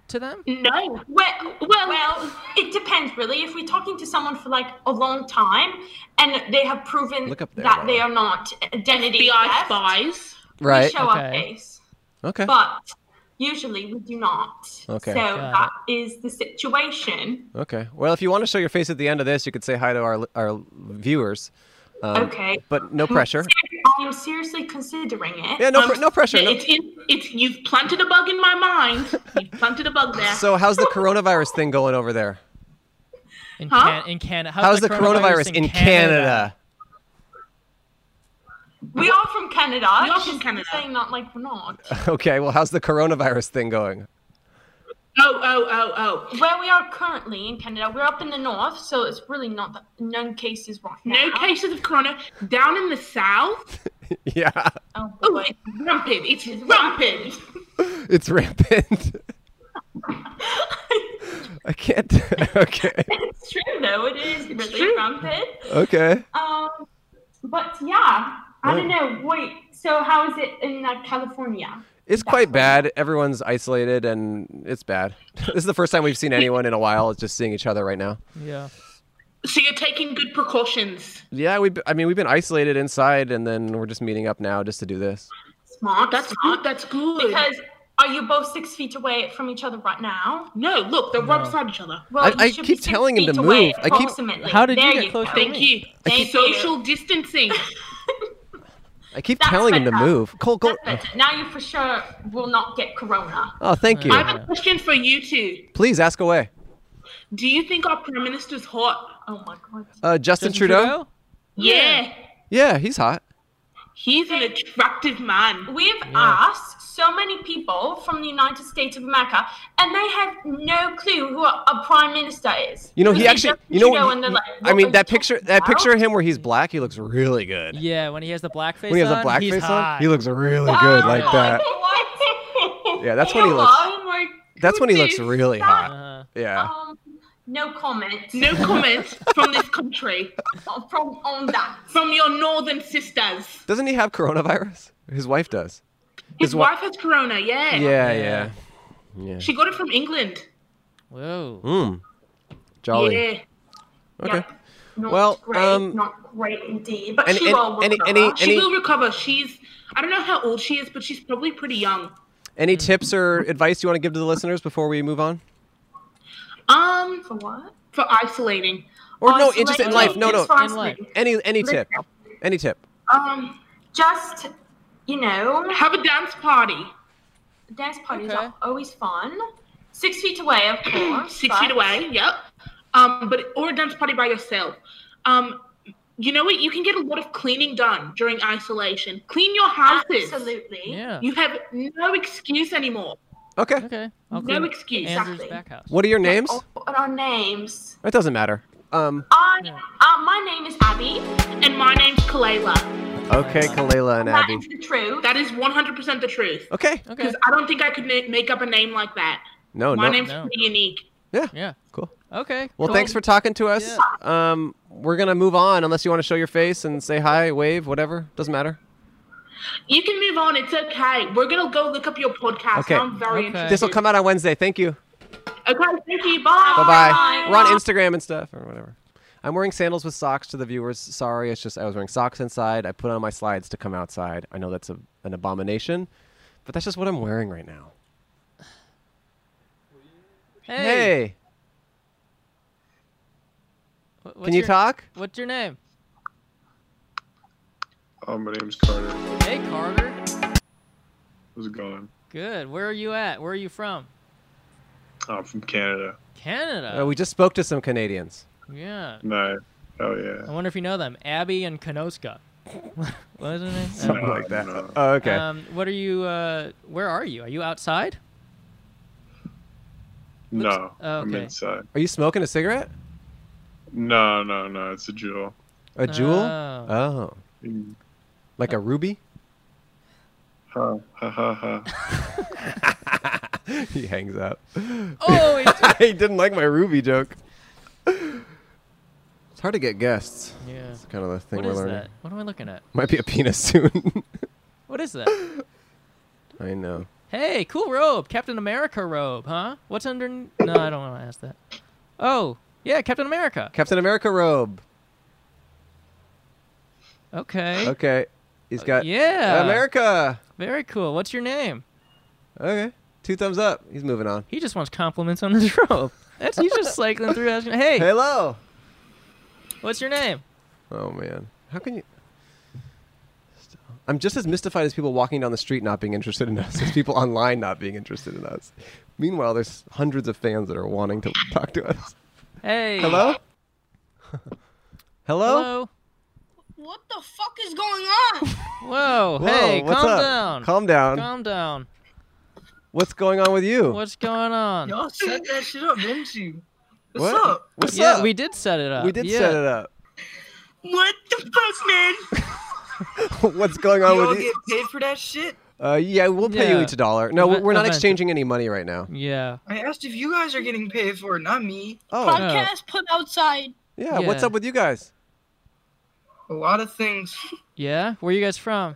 Speaker 1: to them.
Speaker 10: No,
Speaker 9: well, well, it depends really. If we're talking to someone for like a long time and they have proven
Speaker 2: Look up there,
Speaker 9: that
Speaker 2: Laura.
Speaker 9: they are not identity
Speaker 10: FBI
Speaker 9: theft,
Speaker 10: spies.
Speaker 2: Right.
Speaker 9: we show our
Speaker 1: Okay.
Speaker 9: face.
Speaker 2: Okay.
Speaker 9: But usually we do not.
Speaker 2: Okay.
Speaker 9: So
Speaker 1: Got
Speaker 9: that is the situation.
Speaker 2: Okay. Well, if you want to show your face at the end of this, you could say hi to our our viewers. Um,
Speaker 9: Okay.
Speaker 2: But no pressure.
Speaker 9: I am seriously considering it.
Speaker 2: Yeah. No. pr- no pressure.
Speaker 10: Yeah,
Speaker 2: No.
Speaker 10: it's in, it's you've planted a bug in my mind. You've planted a bug there.
Speaker 2: So how's the coronavirus thing going over there?
Speaker 1: In,
Speaker 10: Huh?
Speaker 1: Can- in Canada.
Speaker 2: How's the coronavirus in Canada?
Speaker 9: We are from Canada.
Speaker 10: We are from
Speaker 9: She's
Speaker 10: Canada.
Speaker 9: Saying that like we're not.
Speaker 2: Okay. Well, how's the coronavirus thing going?
Speaker 10: oh, oh, oh, oh.
Speaker 9: Where we are currently in Canada, we're up in the north, so it's really not that known cases right now.
Speaker 10: No cases of corona down in the south.
Speaker 2: yeah.
Speaker 9: Oh,
Speaker 10: Oh,
Speaker 9: boy.
Speaker 10: it's rampant. It's rampant.
Speaker 2: It's rampant. I can't. okay.
Speaker 9: it's true though. It is really
Speaker 10: true.
Speaker 9: rampant.
Speaker 2: Okay.
Speaker 9: Um, but yeah, I don't know. Wait, so how is it in like California?
Speaker 2: It's quite bad. Everyone's isolated and it's bad. this is the first time we've seen anyone in a while. It's just seeing each other right now.
Speaker 1: Yeah.
Speaker 10: So you're taking good precautions.
Speaker 2: Yeah, we. I mean, we've been isolated inside, and then we're just meeting up now just to do this.
Speaker 10: Smart. That's good. That's good.
Speaker 9: Because Are you both six feet away from each other right now?
Speaker 10: No, look, they're right beside each other.
Speaker 9: Well,
Speaker 2: I-
Speaker 9: you
Speaker 2: I
Speaker 9: should be
Speaker 2: keep
Speaker 9: six
Speaker 2: telling him
Speaker 9: feet
Speaker 2: to
Speaker 9: away,
Speaker 2: move. I keep-
Speaker 9: approximately.
Speaker 1: How did you
Speaker 9: There
Speaker 1: get close to
Speaker 9: go.
Speaker 1: me?
Speaker 10: Thank you.
Speaker 2: I
Speaker 9: keep-
Speaker 10: Social distancing.
Speaker 2: I keep
Speaker 9: That's
Speaker 2: telling him to
Speaker 9: better.
Speaker 2: move. Cole, Cole.
Speaker 9: That's better. Now you for sure will not get corona.
Speaker 2: Oh, thank you.
Speaker 10: I have a question for you two.
Speaker 2: Please ask away.
Speaker 10: Do you think our prime minister's hot?
Speaker 9: Oh my god.
Speaker 2: Uh, Justin, Trudeau?
Speaker 10: Yeah,
Speaker 2: Yeah, he's hot.
Speaker 10: he's an attractive man.
Speaker 9: We've asked so many people from the United States of America, and they have no clue who a, a prime minister is.
Speaker 2: You know,
Speaker 9: They
Speaker 2: he
Speaker 9: see
Speaker 2: actually.
Speaker 9: Justin
Speaker 2: You know,
Speaker 9: Trudeau
Speaker 2: y-
Speaker 9: and
Speaker 2: y-
Speaker 9: they're like,
Speaker 2: I
Speaker 9: "What are
Speaker 2: mean
Speaker 9: you
Speaker 2: that picture.
Speaker 9: talking
Speaker 2: That
Speaker 9: about?"
Speaker 2: picture of him where he's black, he looks really good.
Speaker 1: Yeah, when he has the blackface
Speaker 2: When he has
Speaker 1: on,
Speaker 2: a black
Speaker 1: he's
Speaker 2: face on,
Speaker 1: hot.
Speaker 2: he looks really good like
Speaker 9: Oh,
Speaker 2: that.
Speaker 9: what?
Speaker 2: Yeah, that's when he
Speaker 9: Hello,
Speaker 2: looks-
Speaker 9: I'm like,
Speaker 2: That's when he looks
Speaker 9: "Goodness,
Speaker 2: really
Speaker 9: that-
Speaker 2: hot.
Speaker 1: Uh-huh.
Speaker 2: Yeah.
Speaker 9: Um, no comment.
Speaker 10: No comment from this country,
Speaker 9: from on that.
Speaker 10: from your northern sisters.
Speaker 2: Doesn't he have coronavirus? His wife does.
Speaker 10: His,
Speaker 2: His wi-
Speaker 10: wife has corona. Yeah.
Speaker 2: Yeah, yeah.
Speaker 1: Yeah.
Speaker 2: Yeah.
Speaker 10: She got it from England.
Speaker 1: Whoa.
Speaker 2: Mmm. Jolly.
Speaker 10: Yeah.
Speaker 2: Okay.
Speaker 9: Yep. Not
Speaker 2: Well,
Speaker 9: great,
Speaker 2: um,
Speaker 9: not great indeed. But
Speaker 2: and-
Speaker 9: she
Speaker 2: and-
Speaker 9: will
Speaker 2: and-
Speaker 9: recover.
Speaker 2: and he-
Speaker 10: She
Speaker 2: Any-
Speaker 10: will recover. She's I don't know how old she is, but she's probably pretty young.
Speaker 2: Any tips or advice you want to give to the listeners before we move on?
Speaker 10: Um,
Speaker 9: For what?
Speaker 10: for isolating.
Speaker 2: Or no,
Speaker 9: Isolate-
Speaker 2: it's just in life. No, no.
Speaker 9: just for
Speaker 1: in life.
Speaker 9: isolating.
Speaker 2: Any any tip. Any tip.
Speaker 9: Um, just you know,
Speaker 10: Have a dance party.
Speaker 9: dance parties
Speaker 1: Okay.
Speaker 9: are always fun. Six feet away, of course.
Speaker 10: Six
Speaker 9: but-
Speaker 10: feet away. Yep. Um, but or a dance party by yourself. Um, you know what? You can get a lot of cleaning done during isolation. Clean your houses.
Speaker 9: Absolutely.
Speaker 1: Yeah.
Speaker 10: You have no excuse anymore.
Speaker 2: Okay.
Speaker 1: Okay. I'll
Speaker 10: No
Speaker 1: clean
Speaker 10: excuse.
Speaker 1: Andrew's
Speaker 9: Exactly.
Speaker 1: back house.
Speaker 2: What are your names?
Speaker 9: Oh, What are names?
Speaker 2: It doesn't matter. Um
Speaker 9: I, uh, my name is Abby.
Speaker 10: And my name's Kalayla.
Speaker 2: okay, Kalela and
Speaker 9: That
Speaker 2: Abby.
Speaker 9: is the truth.
Speaker 10: That is 100% the truth.
Speaker 2: Okay.
Speaker 1: Okay.
Speaker 10: Because I don't think I could na- make up a name like that.
Speaker 2: No,
Speaker 10: my
Speaker 2: no.
Speaker 10: name's
Speaker 1: No.
Speaker 10: pretty unique.
Speaker 1: Yeah.
Speaker 2: Cool.
Speaker 1: Okay.
Speaker 2: Well,
Speaker 1: cool.
Speaker 2: thanks for talking to us. Um we're going to move on unless you want to show your face and say hi, wave, whatever. Doesn't matter.
Speaker 10: You can move on. It's okay. We're gonna go look up your podcast.
Speaker 2: Okay.
Speaker 10: Ah, I'm very
Speaker 1: Okay.
Speaker 10: interested.
Speaker 2: This will come out on Wednesday. Thank you.
Speaker 10: Okay. Thank you. Bye.
Speaker 2: Bye-bye. We're on Instagram and stuff or whatever. I'm wearing sandals with socks to the viewers. Sorry, it's just I was wearing socks inside. I put on my slides to come outside. I know that's a, an abomination, but that's just what I'm wearing right now.
Speaker 1: Hey.
Speaker 2: Hey,
Speaker 1: wh- what's
Speaker 2: can you
Speaker 1: your-
Speaker 2: talk?
Speaker 1: What's your name?
Speaker 4: Oh, my name's Carter.
Speaker 1: Hey, Carter.
Speaker 4: How's it going?
Speaker 1: Good. Where are you at? Where are you from?
Speaker 4: Oh, I'm from Canada.
Speaker 1: Canada.
Speaker 2: Uh, we just spoke to some Canadians.
Speaker 1: yeah.
Speaker 4: No. Oh yeah.
Speaker 1: I wonder if you know them. Abby and Konoska. what was her name?
Speaker 4: Something
Speaker 1: Um,
Speaker 4: like that.
Speaker 2: Oh, okay.
Speaker 1: Um, what are you? Uh, where are you? Are you outside?
Speaker 4: no.
Speaker 1: oh,
Speaker 4: I'm
Speaker 1: okay.
Speaker 4: inside.
Speaker 2: Are you smoking a cigarette?
Speaker 4: No, no, no. It's a jewel.
Speaker 2: A jewel?
Speaker 1: Oh.
Speaker 2: Oh,
Speaker 4: Mm.
Speaker 2: like a ruby?
Speaker 4: Ha ha ha ha.
Speaker 2: he hangs up.
Speaker 1: Oh, it's-
Speaker 2: he didn't like my ruby joke. It's hard to get guests.
Speaker 1: yeah.
Speaker 2: It's kind of the thing
Speaker 1: What
Speaker 2: we're
Speaker 1: is
Speaker 2: learning.
Speaker 1: that? What am I looking at?
Speaker 2: Might be a penis soon.
Speaker 1: What is that?
Speaker 2: I know.
Speaker 1: Hey, cool robe, Captain America robe, huh? What's under? No, I don't want to ask that. Oh, yeah, Captain America.
Speaker 2: Captain America robe.
Speaker 1: Okay.
Speaker 2: Okay. He's got
Speaker 1: Oh, yeah.
Speaker 2: America.
Speaker 1: Very cool. What's your name?
Speaker 2: Okay. Two thumbs up. He's moving on.
Speaker 1: He just wants compliments on his robe. That's he's just cycling through. asking, Hey,
Speaker 2: Hello.
Speaker 1: what's your name?
Speaker 2: Oh man. How can you I'm just as mystified as people walking down the street not being interested in us, as people online not being interested in us. Meanwhile, there's hundreds of fans that are wanting to talk to us.
Speaker 1: Hey.
Speaker 2: Hello? Hello?
Speaker 1: Hello.
Speaker 8: What the fuck is going on?
Speaker 1: Whoa.
Speaker 2: Whoa,
Speaker 1: Oh, hey,
Speaker 2: what's
Speaker 1: calm
Speaker 2: up?
Speaker 1: down.
Speaker 2: Calm down.
Speaker 1: Calm down.
Speaker 2: What's going on with you?
Speaker 1: What's going on?
Speaker 11: Y'all set that shit up, didn't you?
Speaker 2: What?
Speaker 11: What's up?
Speaker 2: What's
Speaker 1: yeah,
Speaker 2: up?
Speaker 1: we did set it up.
Speaker 2: We did
Speaker 1: yeah.
Speaker 2: set it up.
Speaker 11: What the fuck, man?
Speaker 2: What's going on
Speaker 11: you all
Speaker 2: with you?
Speaker 11: get paid for that shit?
Speaker 2: Uh, yeah, we'll pay you
Speaker 1: Yeah.
Speaker 2: each a dollar. No,
Speaker 1: Event-
Speaker 2: we're not
Speaker 1: event.
Speaker 2: exchanging any money right now.
Speaker 1: Yeah.
Speaker 11: I asked if you guys are getting paid for it, not me.
Speaker 2: Oh,
Speaker 8: Podcast put outside.
Speaker 2: yeah. What's
Speaker 1: Yeah.
Speaker 2: up with you guys?
Speaker 11: A lot of things.
Speaker 1: Yeah. Where you guys from?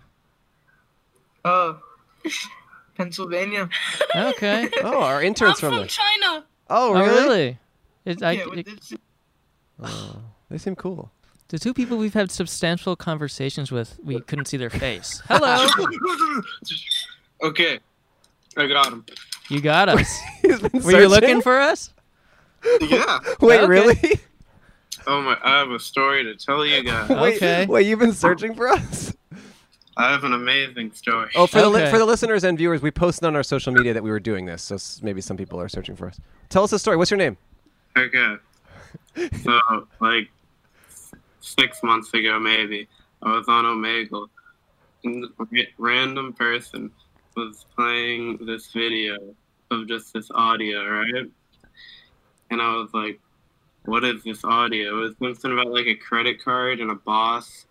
Speaker 4: Oh,
Speaker 11: Uh, Pennsylvania.
Speaker 1: Okay.
Speaker 2: Oh, our
Speaker 8: I'm
Speaker 2: intern's
Speaker 8: from
Speaker 2: from there.
Speaker 8: China.
Speaker 2: Oh, really?
Speaker 1: Oh, really? It, I,
Speaker 11: yeah, with
Speaker 1: it-
Speaker 11: this-
Speaker 2: Oh, they seem cool.
Speaker 1: the two people we've had substantial conversations with, we couldn't see their face. Hello.
Speaker 4: Okay. I got him.
Speaker 1: You got us.
Speaker 4: been
Speaker 1: Were you
Speaker 4: searching?
Speaker 1: looking for us?
Speaker 4: Yeah.
Speaker 2: Wait, really?
Speaker 4: Oh my! I have a story to tell you guys.
Speaker 2: wait, Wait, you've been searching for us?
Speaker 4: I have an amazing story.
Speaker 2: Oh, for, the li- for the listeners and viewers, we posted on our social media that we were doing this, so s- maybe some people are searching for us. Tell us a story. What's your name?
Speaker 4: Okay. So, like six months ago, maybe I was on Omegle, and a ra- random person was playing this video of just this audio, right? And I was like, "What is this audio?" It was something about like a credit card and a boss.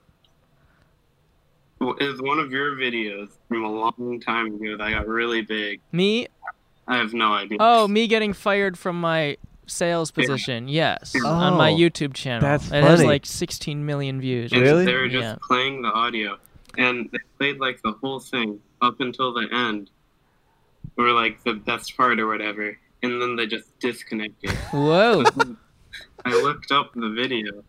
Speaker 4: Well, It was one of your videos from a long time ago that got really big.
Speaker 1: Me?
Speaker 4: I have no idea.
Speaker 1: Oh, me getting fired from my sales position. Yes, on my
Speaker 4: Oh,
Speaker 1: YouTube channel.
Speaker 4: that's
Speaker 1: It has
Speaker 4: funny.
Speaker 1: like 16 million views.
Speaker 4: And They were just
Speaker 1: Yeah.
Speaker 4: playing the audio, and they played like the whole thing up until the end, or like the best part or whatever, and then they just disconnected.
Speaker 1: Whoa.
Speaker 4: I looked up the video.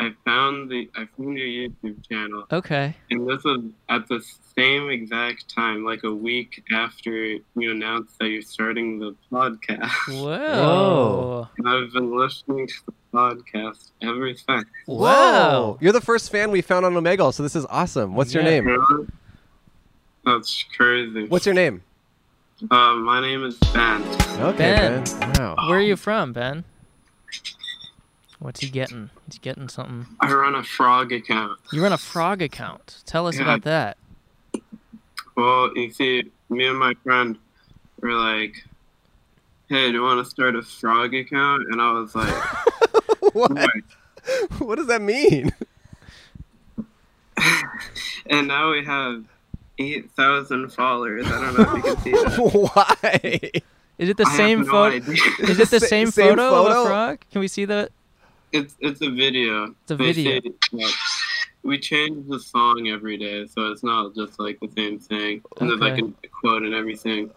Speaker 4: I found the I found your YouTube channel,
Speaker 1: Okay.
Speaker 4: and this was at the same exact time, like a week after you announced that you're starting the podcast.
Speaker 1: Whoa.
Speaker 4: And I've been listening to the podcast ever since.
Speaker 2: Whoa! You're the first fan we found on Omegle, so this is awesome. What's your name?
Speaker 4: That's crazy.
Speaker 2: What's your name?
Speaker 4: Uh, my name is Ben.
Speaker 2: Okay,
Speaker 1: Ben.
Speaker 2: Ben. Wow.
Speaker 1: Where are you from, Ben? What's he getting? He's getting something.
Speaker 4: I run a frog account.
Speaker 1: You run a frog account. Tell us
Speaker 4: Yeah.
Speaker 1: about that.
Speaker 4: Well, you see, me and my friend were like, "Hey, do you want to start a frog account?" And I was like,
Speaker 2: "What?" What does that mean?
Speaker 4: And now we have eight thousand followers. I don't know if you can see that.
Speaker 2: Why?
Speaker 1: Is it the
Speaker 4: I have
Speaker 1: same
Speaker 4: no
Speaker 1: photo?
Speaker 4: idea.
Speaker 1: Is it the
Speaker 4: Sa-
Speaker 1: same,
Speaker 4: same
Speaker 1: photo, of
Speaker 4: photo?
Speaker 1: a frog? Can we see the?
Speaker 4: It's it's a video.
Speaker 1: It's a
Speaker 4: They
Speaker 1: video.
Speaker 4: say, like, we change the song every day, so it's not just like the same thing. And there's like
Speaker 1: Okay.
Speaker 4: a quote and everything.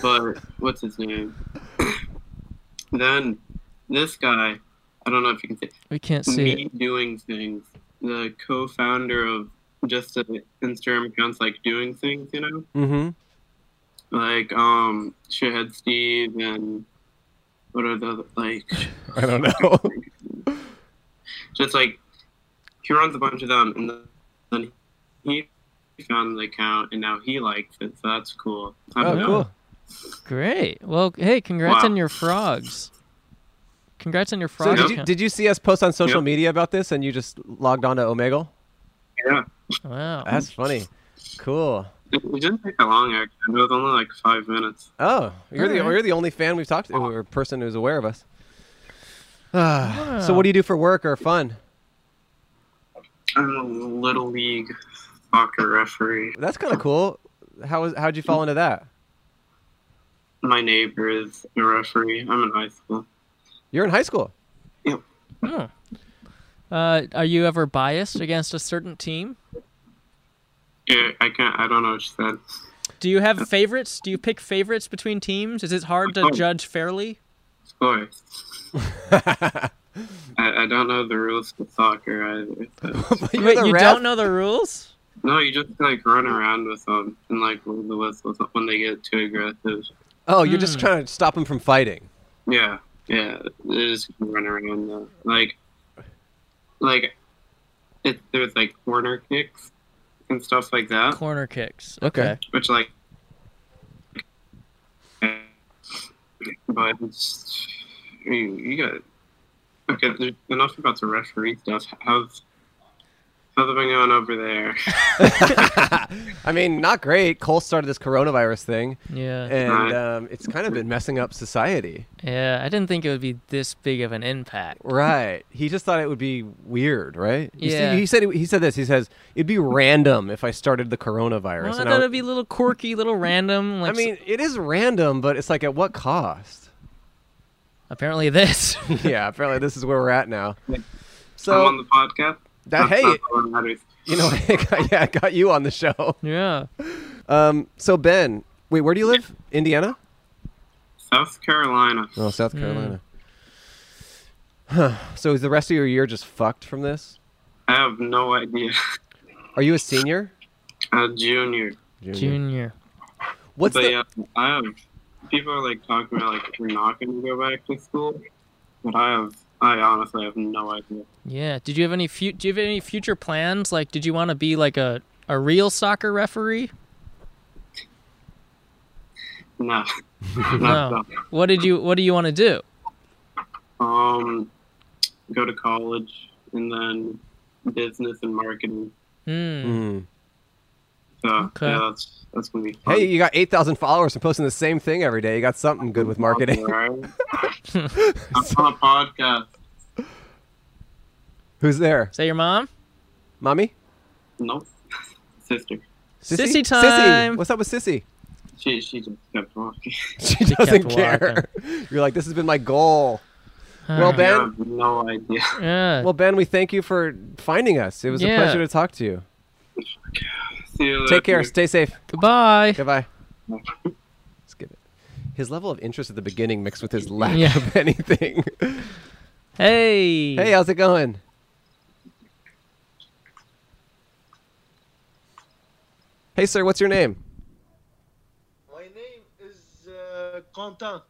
Speaker 4: But what's his name? then this guy, I don't know if you can see.
Speaker 1: We can't see
Speaker 4: me doing things. The co-founder of just the Instagram accounts like doing things, you know,
Speaker 2: Mm-hmm.
Speaker 4: like um shithead Steve and what are the other, like
Speaker 2: I don't know.
Speaker 4: just like he runs a bunch of them and then he found the account and now he likes it so that's cool Um, I don't
Speaker 1: Oh,
Speaker 4: know.
Speaker 1: cool. Great. Well, hey, congrats
Speaker 4: Wow.
Speaker 1: on your frogs. Congrats on your
Speaker 2: So
Speaker 1: frog
Speaker 2: did, you,
Speaker 1: account.
Speaker 2: did you see us post on social media about this, and you just logged on to Omegle?
Speaker 4: yeah
Speaker 1: Wow.
Speaker 2: That's funny. Cool.
Speaker 4: it, it didn't take that long actually it was only like five minutes
Speaker 2: Oh, you're the
Speaker 4: Alright.
Speaker 2: you're the only fan we've talked to, or person who's aware of us. Ah, So what do you do for work or fun?
Speaker 4: I'm a little league soccer referee
Speaker 2: That's kind of cool. How was how'd you fall into that?
Speaker 4: my neighbor is a referee I'm in high school
Speaker 2: You're in high school.
Speaker 1: Oh. Uh, are you ever biased against a certain team?
Speaker 4: yeah, I can't I don't know what she said
Speaker 1: Do you have favorites? Do you pick favorites between teams? Is it hard to
Speaker 4: Oh.
Speaker 1: judge fairly?
Speaker 4: score I, I don't know the rules to soccer either so-
Speaker 1: Wait, you don't know the rules?
Speaker 4: No, you just like run around with them and like blow the whistles when they get too aggressive.
Speaker 2: Oh, you're
Speaker 1: Hmm.
Speaker 2: just trying to stop him from fighting.
Speaker 4: Yeah, yeah, they just run around though. Like, like it, there's like corner kicks and stuff like that,
Speaker 1: Corner kicks.
Speaker 2: Okay.
Speaker 4: which like, but it's, I mean, you got okay. There's enough about the referee stuff. How's how's it been going over there?
Speaker 2: I mean, not great. Cole started this coronavirus thing.
Speaker 1: Yeah.
Speaker 2: And um, it's kind of been messing up society.
Speaker 1: Yeah, I didn't think it would be this big of an impact.
Speaker 2: Right. He just thought it would be weird, right? You see-
Speaker 1: Yeah.
Speaker 2: He said he said this. He says it'd be random if I started the coronavirus.
Speaker 1: Well, I
Speaker 2: And
Speaker 1: thought
Speaker 2: I-
Speaker 1: it'd be a little quirky, little random. Like
Speaker 2: I mean, it is random, but it's like at what cost?
Speaker 1: Apparently, this.
Speaker 2: yeah, apparently this is where we're at now.
Speaker 4: I'm
Speaker 2: So
Speaker 4: on the podcast.
Speaker 2: that hey,
Speaker 4: That's not what matters.
Speaker 2: you know, I got, yeah, I got you on the show.
Speaker 1: Yeah.
Speaker 2: Um. So Ben, wait, where do you live? Indiana?
Speaker 4: South Carolina.
Speaker 2: Oh, South
Speaker 4: Hmm.
Speaker 2: Carolina. Huh. So is the rest of your year just fucked from this?
Speaker 4: I have no idea.
Speaker 2: Are you a senior?
Speaker 4: A junior.
Speaker 1: Junior.
Speaker 2: What's
Speaker 4: but
Speaker 2: the-
Speaker 4: yeah, I have people are like talking about like we're not going to go back to school, but I have I honestly have no idea.
Speaker 1: Yeah. Did you have any fu- Do you have any future plans? Like, did you want to be like a a real soccer referee?
Speaker 4: No.
Speaker 1: no. What did you What do you want to do?
Speaker 4: Um, go to college and then business and marketing.
Speaker 1: Hmm.
Speaker 2: Mm.
Speaker 4: So
Speaker 2: Okay.
Speaker 4: yeah, that's that's gonna be fun.
Speaker 2: Hey, you got 8,000 followers and posting the same thing every day. You got something good with marketing.
Speaker 4: Right? I'm on a podcast.
Speaker 2: Who's there?
Speaker 1: Is that your mom?
Speaker 2: Mommy?
Speaker 4: Nope. Sister.
Speaker 1: Sissy
Speaker 2: Sissy.
Speaker 1: time.
Speaker 2: What's up with Sissy?
Speaker 4: She she just kept walking.
Speaker 2: She doesn't care. You're like, this has been my goal. well,
Speaker 4: Yeah,
Speaker 2: Ben.
Speaker 4: I have no idea.
Speaker 2: Well, Ben, we thank you for finding us. It was
Speaker 4: Yeah.
Speaker 2: a pleasure to talk to you.
Speaker 4: See you
Speaker 2: Take care.
Speaker 4: later.
Speaker 2: Stay safe.
Speaker 1: Goodbye.
Speaker 2: Goodbye. Skip it. His level of interest at the beginning mixed with his lack
Speaker 1: Yeah.
Speaker 2: of anything.
Speaker 1: Hey.
Speaker 2: Hey, how's it going? Hey, sir, what's your name?
Speaker 12: My name is uh, Quentin.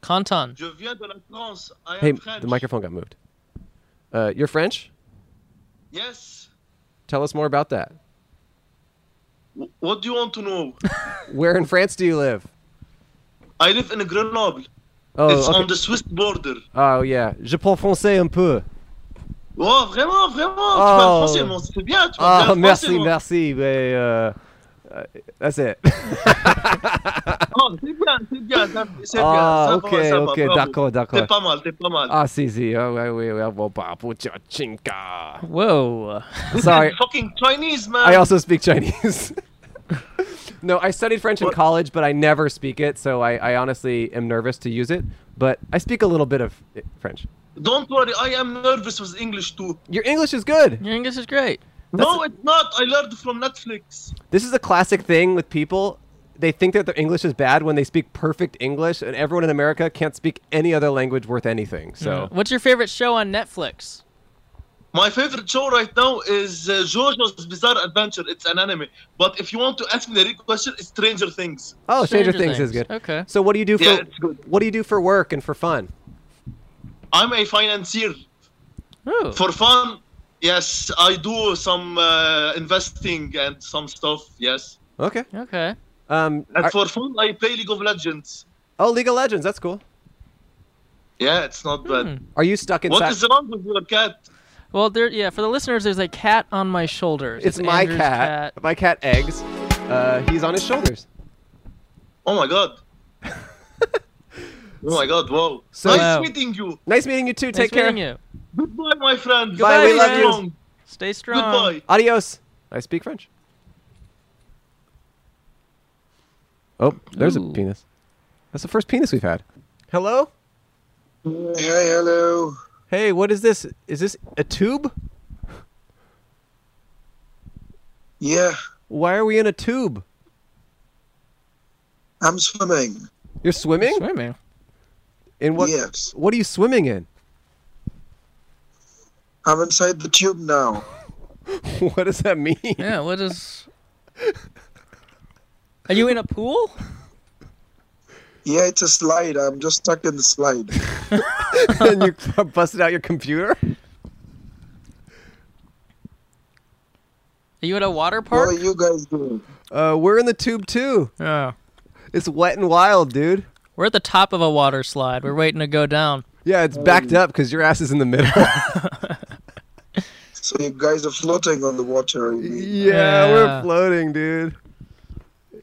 Speaker 1: Conton.
Speaker 12: Je viens de la France. I am
Speaker 2: Hey,
Speaker 12: French.
Speaker 2: the microphone got moved. Uh, you're French?
Speaker 12: Yes.
Speaker 2: Tell us more about that.
Speaker 12: What do you want to know?
Speaker 2: Where in France do you live?
Speaker 12: I live in Grenoble.
Speaker 2: Oh,
Speaker 12: it's
Speaker 2: okay.
Speaker 12: on the Swiss border.
Speaker 2: Oh, yeah. Je parle français un peu.
Speaker 12: Oh, vraiment, vraiment. Tu parles
Speaker 2: Oh.
Speaker 12: français, moi, c'est bien. Tu parles
Speaker 2: Oh,
Speaker 12: bien français,
Speaker 2: merci,
Speaker 12: moi.
Speaker 2: merci. Mais, uh, uh, that's it.
Speaker 12: Oh, c'est bien, c'est bien. ça- C'est bien.
Speaker 2: Ah,
Speaker 12: ça
Speaker 2: ok,
Speaker 12: va, ça va,
Speaker 2: ok,
Speaker 12: bravo.
Speaker 2: d'accord, d'accord.
Speaker 12: T'es pas mal, t'es pas mal.
Speaker 2: Ah, si, si. Oh, oui, oui, oui. Bon, bah, pour your chinka.
Speaker 1: Whoa.
Speaker 2: Sorry.
Speaker 12: Fucking Chinese, man.
Speaker 2: I also speak Chinese. no, I studied French in college, but I never speak it, so I, I honestly am nervous to use it. But I speak a little bit of i- French.
Speaker 12: Don't worry, I am nervous with English too.
Speaker 2: Your English is good.
Speaker 1: Your English is great.
Speaker 12: No, it's not. I learned from Netflix.
Speaker 2: This is a classic thing with people. They think that their English is bad when they speak perfect English, and everyone in America can't speak any other language worth anything. So,
Speaker 1: What's your favorite show on Netflix?
Speaker 12: My favorite show right now is uh, JoJo's Bizarre Adventure. It's an anime. But if you want to ask me the real question, it's Stranger Things.
Speaker 2: oh, Stranger, Things, is good.
Speaker 1: Okay.
Speaker 2: So, what do you do for
Speaker 12: Yeah, it's good.
Speaker 2: what do you do for work and for fun?
Speaker 12: I'm a financier. For fun, yes, I do some uh, investing and some stuff, yes.
Speaker 2: Okay.
Speaker 1: Okay.
Speaker 2: Um.
Speaker 12: And
Speaker 2: are-
Speaker 12: for fun, I play League of Legends.
Speaker 2: oh, League of Legends. That's cool.
Speaker 12: Yeah, it's not
Speaker 2: Hmm.
Speaker 12: bad.
Speaker 2: Are you stuck inside?
Speaker 12: What is wrong with your cat?
Speaker 1: Well, there. Yeah, for the listeners, there's a cat on my shoulders.
Speaker 2: It's my
Speaker 1: Andrew's
Speaker 2: cat. My cat eggs. Uh, he's on his shoulders.
Speaker 12: Oh my god. oh my god, wow.
Speaker 2: So-
Speaker 12: nice
Speaker 2: Wow.
Speaker 12: meeting you.
Speaker 2: Nice meeting you too. Take care.
Speaker 12: Goodbye, my friend.
Speaker 2: Bye, we love you.
Speaker 1: Stay
Speaker 12: strong. Goodbye.
Speaker 2: Adios. I speak French. Oh, there's a penis. That's the first penis we've had. Hello?
Speaker 13: Hey, hello.
Speaker 2: Hey, what is this? Is this a tube?
Speaker 13: Yeah,
Speaker 2: Why are we in a tube?
Speaker 13: I'm swimming.
Speaker 2: You're swimming?
Speaker 1: Swimming.
Speaker 2: In what?
Speaker 13: Yes.
Speaker 2: What are you swimming in?
Speaker 13: I'm inside the tube now.
Speaker 2: what does that mean?
Speaker 1: Yeah. What is? Are you in a pool?
Speaker 13: Yeah, it's a slide. I'm just stuck in the slide.
Speaker 2: and you busted out your computer?
Speaker 1: Are you at a water park?
Speaker 13: What are you guys doing?
Speaker 2: Uh, we're in the tube too.
Speaker 1: Yeah.
Speaker 2: It's wet and wild, dude.
Speaker 1: We're at the top of a water slide. We're waiting to go down.
Speaker 2: Yeah,
Speaker 1: Um,
Speaker 2: it's backed up because your ass is in the middle.
Speaker 13: So you guys are floating on the water. you mean?
Speaker 2: yeah, we're floating, dude.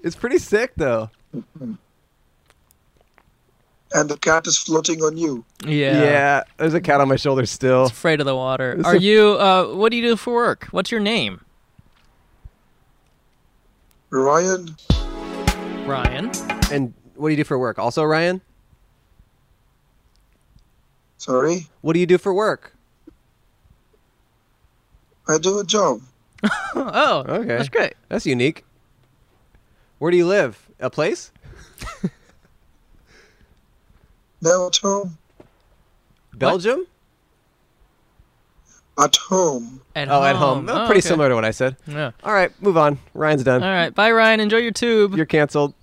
Speaker 2: It's pretty sick though.
Speaker 13: And the cat is floating on you.
Speaker 1: Yeah.
Speaker 2: Yeah, there's a cat on my shoulder still.
Speaker 1: Afraid of the water.
Speaker 2: It's
Speaker 1: Are
Speaker 2: a-
Speaker 1: you? Uh, what do you do for work? What's your name?
Speaker 13: Ryan?
Speaker 1: Ryan.
Speaker 2: And what do you do for work? Also, Ryan?
Speaker 13: Sorry?
Speaker 2: What do you do for work?
Speaker 13: I do a job.
Speaker 1: oh,
Speaker 2: okay.
Speaker 13: that's great.
Speaker 2: That's unique. Where do you live? A place?
Speaker 13: Now at home.
Speaker 2: Belgium?
Speaker 13: At home.
Speaker 1: At
Speaker 2: oh, at home.
Speaker 1: home.
Speaker 2: Oh,
Speaker 1: Oh,
Speaker 2: pretty
Speaker 1: okay.
Speaker 2: similar to what I said.
Speaker 1: Yeah.
Speaker 2: All right, move on. Ryan's done.
Speaker 1: All right. Bye, Ryan. Enjoy your tube.
Speaker 2: You're canceled.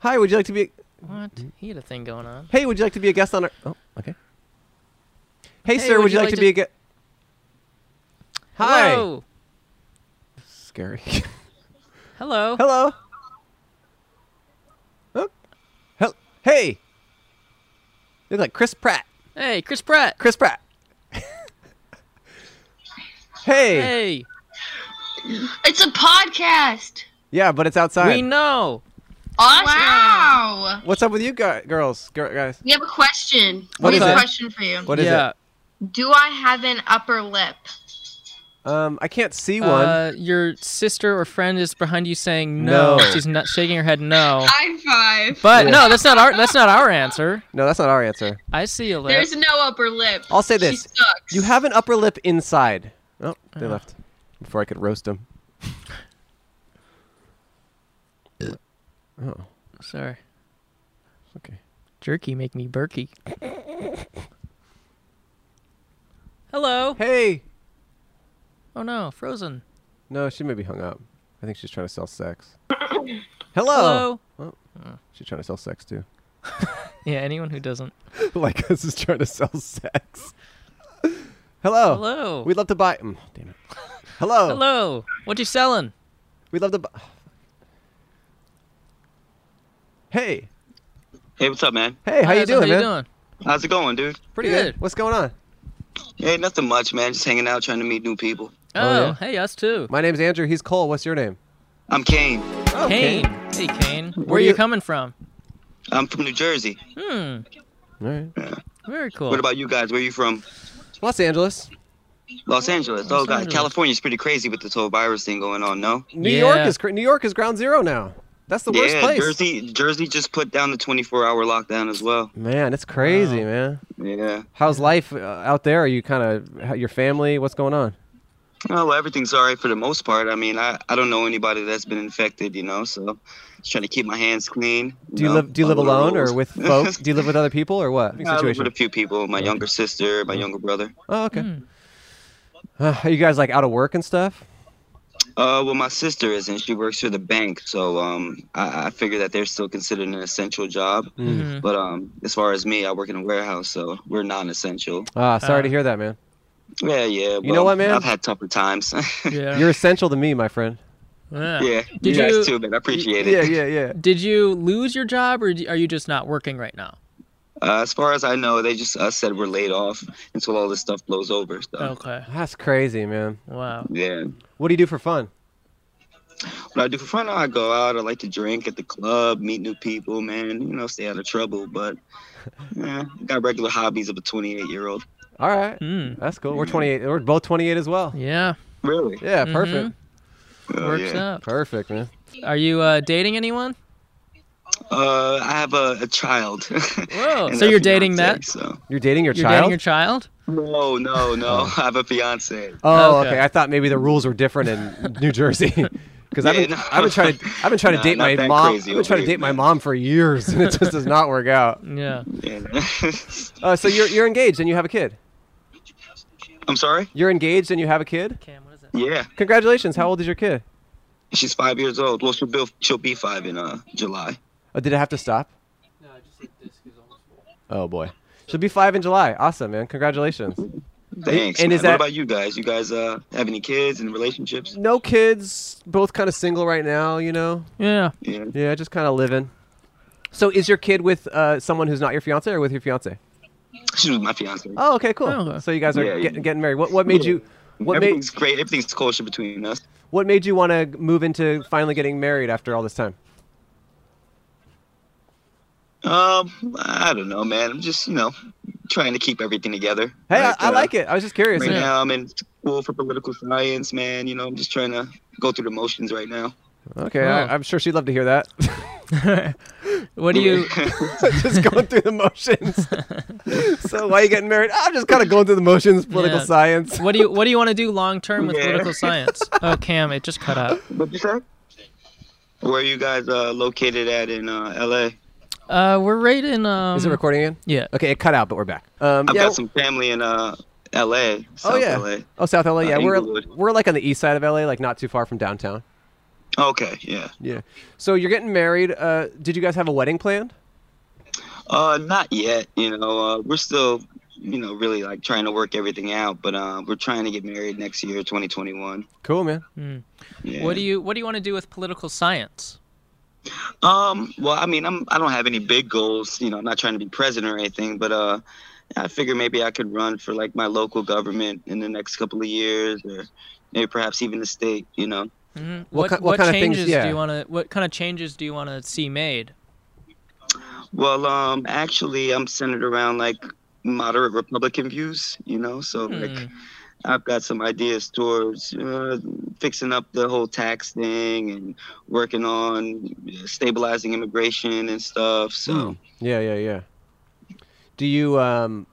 Speaker 2: Hi, would you like to be?
Speaker 1: What? He had a thing going on.
Speaker 2: Hey, would you like to be a guest on our? Oh, okay. Hey, sir, would, you like, to be a guest? Hi.
Speaker 1: Hello.
Speaker 2: Scary.
Speaker 1: Hello.
Speaker 2: Hello. Oh. Hel- hey. You look like Chris Pratt.
Speaker 1: Hey, Chris Pratt.
Speaker 2: Chris Pratt. hey.
Speaker 1: Hey.
Speaker 14: It's a podcast.
Speaker 2: Yeah, but it's outside.
Speaker 1: We know.
Speaker 14: Awesome. Wow.
Speaker 2: What's up with you guys, girls, gir- guys?
Speaker 14: We have a question.
Speaker 2: What
Speaker 14: we
Speaker 2: is
Speaker 14: have a
Speaker 2: it?
Speaker 14: question for you.
Speaker 2: What is it?
Speaker 14: Do I have an upper lip?
Speaker 2: Um, I can't see one.
Speaker 1: Uh, your sister or friend is behind you saying no.
Speaker 2: No.
Speaker 1: She's not shaking her head
Speaker 2: Oh.
Speaker 1: no.
Speaker 14: High five.
Speaker 1: But no, that's not our that's not our answer.
Speaker 2: no, that's not our answer.
Speaker 1: I see a lip.
Speaker 14: There's no upper lip.
Speaker 2: I'll say
Speaker 14: She
Speaker 2: this:
Speaker 14: sucks.
Speaker 2: you have an upper lip inside. Oh, they
Speaker 1: Uh.
Speaker 2: left before I could roast them. oh,
Speaker 1: Sorry.
Speaker 2: Okay.
Speaker 1: Jerky make me burky. Hello.
Speaker 2: Hey.
Speaker 1: Oh no, frozen.
Speaker 2: no, she may be hung up. I think she's trying to sell sex.
Speaker 1: Hello.
Speaker 2: Hello. Oh, she's trying to sell sex too.
Speaker 1: Yeah, anyone who doesn't.
Speaker 2: like this is trying to sell sex. Hello.
Speaker 1: Hello.
Speaker 2: We'd love to buy. Mm, damn it. Hello.
Speaker 1: Hello. What you selling?
Speaker 2: We'd love to. Bu- hey.
Speaker 15: Hey, what's up, man?
Speaker 2: Hey, how you doing, man?
Speaker 15: How's it going, dude?
Speaker 2: Pretty good. What's going on?
Speaker 15: Hey, nothing much, man. Just hanging out, trying to meet new people.
Speaker 1: Oh, hey, us too.
Speaker 2: My name's Andrew. He's Cole. What's your name?
Speaker 15: I'm Kane.
Speaker 2: Oh,
Speaker 1: Kane. Hey, Kane. Where,
Speaker 15: Where
Speaker 1: are
Speaker 15: do
Speaker 1: you
Speaker 15: you-
Speaker 1: coming from?
Speaker 15: I'm from New Jersey.
Speaker 1: Hmm.
Speaker 2: All right.
Speaker 1: Very cool.
Speaker 15: What about you guys? Where are you from?
Speaker 2: Los Angeles.
Speaker 15: Los Angeles. oh,
Speaker 2: Los
Speaker 15: God.
Speaker 2: Angeles.
Speaker 15: California's pretty crazy with this whole virus thing going on, no?
Speaker 2: New York is cra- New York is ground zero now. That's the worst
Speaker 15: yeah,
Speaker 2: place.
Speaker 15: Jersey, Jersey just put down the 24 hour lockdown as well.
Speaker 2: Man, it's crazy, man.
Speaker 15: Yeah.
Speaker 2: How's life uh, out there? Are you kind of your family? What's going on?
Speaker 15: Oh, well, everything's all right for the most part. I mean, I, I don't know anybody that's been infected, you know, so just trying to keep my hands clean.
Speaker 2: Do you
Speaker 15: know,
Speaker 2: live Do you live
Speaker 15: follow the
Speaker 2: alone
Speaker 15: rules.
Speaker 2: or with folks? Do you live with other people or what?
Speaker 15: Yeah, I live with a few people my younger sister, my younger brother.
Speaker 2: Oh, okay.
Speaker 1: Hmm.
Speaker 2: Uh, are you guys like out of work and stuff?
Speaker 15: Uh, well, my sister is, and she works for the bank, so um, I, I figure that they're still considered an essential job.
Speaker 1: Mm-hmm.
Speaker 2: Mhm.
Speaker 15: But um, as far as me, I work in a warehouse, so we're non-essential.
Speaker 2: Ah, sorry to
Speaker 1: Uh,
Speaker 2: hear that, man.
Speaker 15: Yeah, yeah.
Speaker 2: You know
Speaker 15: well,
Speaker 2: what, man?
Speaker 15: I've had tougher times.
Speaker 1: Yeah.
Speaker 2: You're essential to me, my friend.
Speaker 1: Yeah.
Speaker 15: yeah, you
Speaker 1: Did
Speaker 15: guys
Speaker 1: you-
Speaker 15: too, man. I appreciate
Speaker 2: Yeah,
Speaker 15: it.
Speaker 2: yeah, yeah.
Speaker 1: Did you lose your job or d- are you just not working right now?
Speaker 15: Uh, as far as I know, they just uh, said we're laid off until all this stuff blows over. So
Speaker 2: Oh.
Speaker 1: Okay.
Speaker 2: That's crazy, man.
Speaker 1: Wow.
Speaker 15: yeah.
Speaker 2: What do you do for fun?
Speaker 15: What I do for fun, I go out. I like to drink at the club, meet new people, man. You know, stay out of trouble. But yeah, I got regular hobbies of a 28 year old.
Speaker 2: All right. That's cool. We're 28. We're both 28 as well.
Speaker 1: Hmm. Yeah.
Speaker 15: Really?
Speaker 2: Yeah,
Speaker 1: Mhm.
Speaker 2: perfect.
Speaker 1: Works yeah. out.
Speaker 2: Perfect, man.
Speaker 1: Are you uh, dating anyone?
Speaker 15: Uh, I have a, a child.
Speaker 1: Whoa.
Speaker 15: And
Speaker 1: So
Speaker 15: a
Speaker 1: you're dating
Speaker 15: fiance,
Speaker 1: that?
Speaker 15: So.
Speaker 2: You're dating your
Speaker 1: You're
Speaker 2: child?
Speaker 1: dating your child?
Speaker 15: No, no, no. I have a fiance.
Speaker 2: oh, okay. I thought maybe the rules were different in New Jersey. Because I've,
Speaker 15: Yeah,
Speaker 2: been
Speaker 15: no.
Speaker 2: I've been trying to I've been trying
Speaker 15: Nah,
Speaker 2: to date
Speaker 15: not
Speaker 2: my
Speaker 15: that
Speaker 2: mom. I've
Speaker 15: crazy
Speaker 2: been
Speaker 15: over
Speaker 2: trying to
Speaker 15: here,
Speaker 2: date my mom for years, and it just does not work out.
Speaker 1: Yeah.
Speaker 2: Uh, so you're you're engaged and you have a kid.
Speaker 15: I'm sorry.
Speaker 2: You're engaged and you have a kid.
Speaker 15: Yeah,
Speaker 2: Congratulations. How old is your kid?
Speaker 15: she's five years old. Well, she'll be she'll be five in uh July.
Speaker 2: Oh, did it have to stop? Oh boy. She'll be five in July. Awesome, man. Congratulations.
Speaker 15: Thanks.
Speaker 2: And
Speaker 15: man.
Speaker 2: is that
Speaker 15: what about you guys? You guys uh have any kids and relationships?
Speaker 2: no kids? Both kind of single right now, you know.
Speaker 1: Yeah.
Speaker 15: Yeah.
Speaker 2: Yeah, just kind of living. So is your kid with uh, someone who's not your fiance or with your fiance?
Speaker 15: She was my fiance.
Speaker 2: Oh, okay, cool. So you guys are
Speaker 15: Yeah, yeah.
Speaker 2: getting, getting married. What what made
Speaker 15: Yeah.
Speaker 2: you what made
Speaker 15: Everything's great. Everything's kosher between us.
Speaker 2: what made you want to move into finally getting married after all this time?
Speaker 15: Um, I don't know, man. I'm just you know trying to keep everything together. uh,
Speaker 2: Hey, I, I like it. I was just curious.
Speaker 15: Right
Speaker 2: Yeah.
Speaker 15: now, I'm in school for political science, man. You know, I'm just trying to go through the motions right now.
Speaker 2: Okay, I, I'm sure she'd love to hear that.
Speaker 1: Oh. What do you?
Speaker 2: just going through the motions. so why are you getting married? I'm just kind of going through the motions. Political
Speaker 1: Yeah.
Speaker 2: science.
Speaker 1: What do you What do you want to do long term with
Speaker 15: Yeah.
Speaker 1: political science? Oh, Cam, it just cut out.
Speaker 15: What'd you say? Where are you guys uh, located at in uh, LA?
Speaker 1: Uh, we're right in. Um,
Speaker 2: Is it recording again?
Speaker 1: Yeah.
Speaker 2: Okay, it cut out, but we're back. Um,
Speaker 15: I've
Speaker 2: yeah.
Speaker 15: got some family in uh, LA. South
Speaker 2: oh yeah.
Speaker 15: LA.
Speaker 2: Oh South LA.
Speaker 15: Uh,
Speaker 2: Yeah, we're
Speaker 15: Inglewood.
Speaker 2: we're like on the east side of LA, like not too far from downtown.
Speaker 15: Okay, yeah.
Speaker 2: Yeah. So you're getting married. Uh, did you guys have a wedding planned?
Speaker 15: Uh, not yet. You know, uh, we're still, you know, really like trying to work everything out, but uh, we're trying to get married next year, 2021.
Speaker 2: Cool, man.
Speaker 15: Yeah.
Speaker 1: What do you What do you want to do with political science?
Speaker 15: Um, well, I mean, I'm I don't have any big goals. You know, I'm not trying to be president or anything, but uh, I figure maybe I could run for like my local government in the next couple of years, or maybe perhaps even the state. You know.
Speaker 1: Mhm.
Speaker 15: What
Speaker 1: What
Speaker 15: ki- what kind of things-
Speaker 1: changes
Speaker 15: yeah.
Speaker 1: do you want to What kind of changes do you want to see made?
Speaker 15: Well, um, actually, I'm centered around like moderate Republican views. You know, so like. I've got some ideas towards uh, fixing up the whole tax thing and working on uh, stabilizing immigration and stuff. So,
Speaker 2: Yeah, yeah, yeah. Do you um,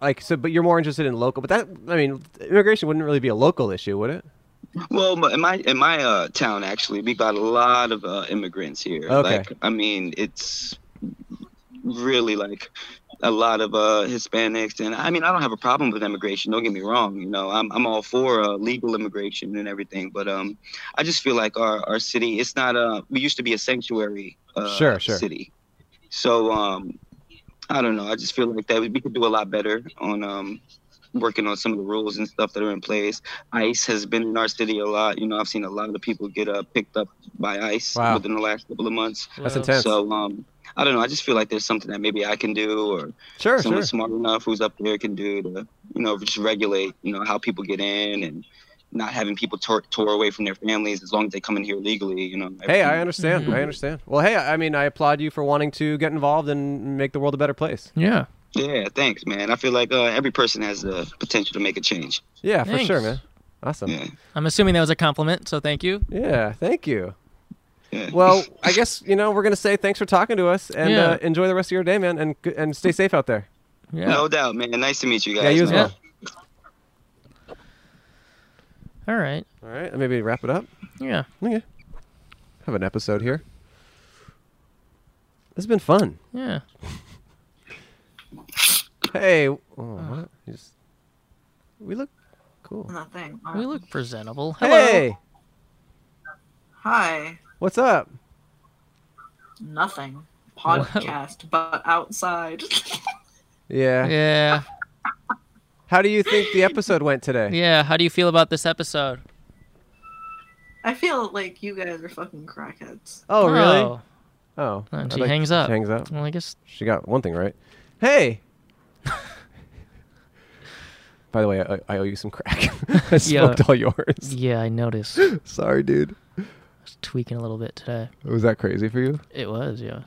Speaker 2: like so? But you're more interested in local. But that I mean, immigration wouldn't really be a local issue, would it?
Speaker 15: Well, my- in my in my uh, town actually, we got a lot of uh, immigrants here.
Speaker 2: Okay.
Speaker 15: Like, I mean, it's really like a lot of uh, Hispanics, and I mean, I don't have a problem with immigration. Don't get me wrong. You know, I'm I'm all for uh, legal immigration and everything, but um, I just feel like our our city, it's not uh, we used to be a sanctuary. Uh,
Speaker 2: Sure, sure.
Speaker 15: City, so um, I don't know. I just feel like that we could do a lot better on um, working on some of the rules and stuff that are in place. ICE has been in our city a lot. You know, I've seen a lot of people get uh, picked up by ICE
Speaker 2: Wow.
Speaker 15: within the last couple of months.
Speaker 2: That's Wow. intense.
Speaker 15: So um, I don't know. I just feel like there's something that maybe I can do, or
Speaker 2: Sure,
Speaker 15: someone
Speaker 2: sure.
Speaker 15: smart enough who's up there can do to, you know, just regulate, you know, how people get in and not having people tore, tore away from their families as long as they come in here legally. You know. everything.
Speaker 2: Hey, I understand. I understand. Well, hey, I I mean, I applaud you for wanting to get involved and make the world a better place.
Speaker 1: Yeah.
Speaker 15: Yeah, thanks, man. I feel like uh, every person has the potential to make a change.
Speaker 2: Yeah, for sure,
Speaker 1: Thanks.
Speaker 2: man. Awesome.
Speaker 1: I'm assuming that was a compliment, so thank you.
Speaker 2: Yeah, thank you. Well, I guess you know we're gonna say thanks for talking to us and
Speaker 1: Yeah.
Speaker 2: uh, enjoy the rest of your day, man, and and stay safe out there.
Speaker 15: No doubt, man. Nice to meet you guys.
Speaker 2: yeah, you as
Speaker 15: man.
Speaker 2: well.
Speaker 1: All right.
Speaker 2: All right, and maybe wrap it up.
Speaker 1: Yeah.
Speaker 2: Okay. Have an episode here. This has been fun.
Speaker 1: Yeah.
Speaker 2: Hey, oh, what? You just- we look cool.
Speaker 4: Nothing.
Speaker 1: We look presentable. Hello.
Speaker 2: Hey,
Speaker 4: Hi.
Speaker 2: what's up?
Speaker 4: Nothing. Podcast, but outside.
Speaker 2: Yeah.
Speaker 1: Yeah.
Speaker 2: How do you think the episode went today?
Speaker 1: Yeah. How do you feel about this episode?
Speaker 4: I feel like you guys are fucking crackheads.
Speaker 2: Oh, really?
Speaker 1: Oh.
Speaker 2: Oh,
Speaker 1: And
Speaker 2: I'd
Speaker 1: she
Speaker 2: like-
Speaker 1: hangs up.
Speaker 2: she hangs up.
Speaker 1: Well, I guess
Speaker 2: She got one thing right. Hey. By the way, I, I owe you some crack. I smoked all yours.
Speaker 1: Yeah, I noticed.
Speaker 2: Sorry, dude.
Speaker 1: tweaking a little bit today.
Speaker 2: Was that crazy for you?
Speaker 1: It was, yeah.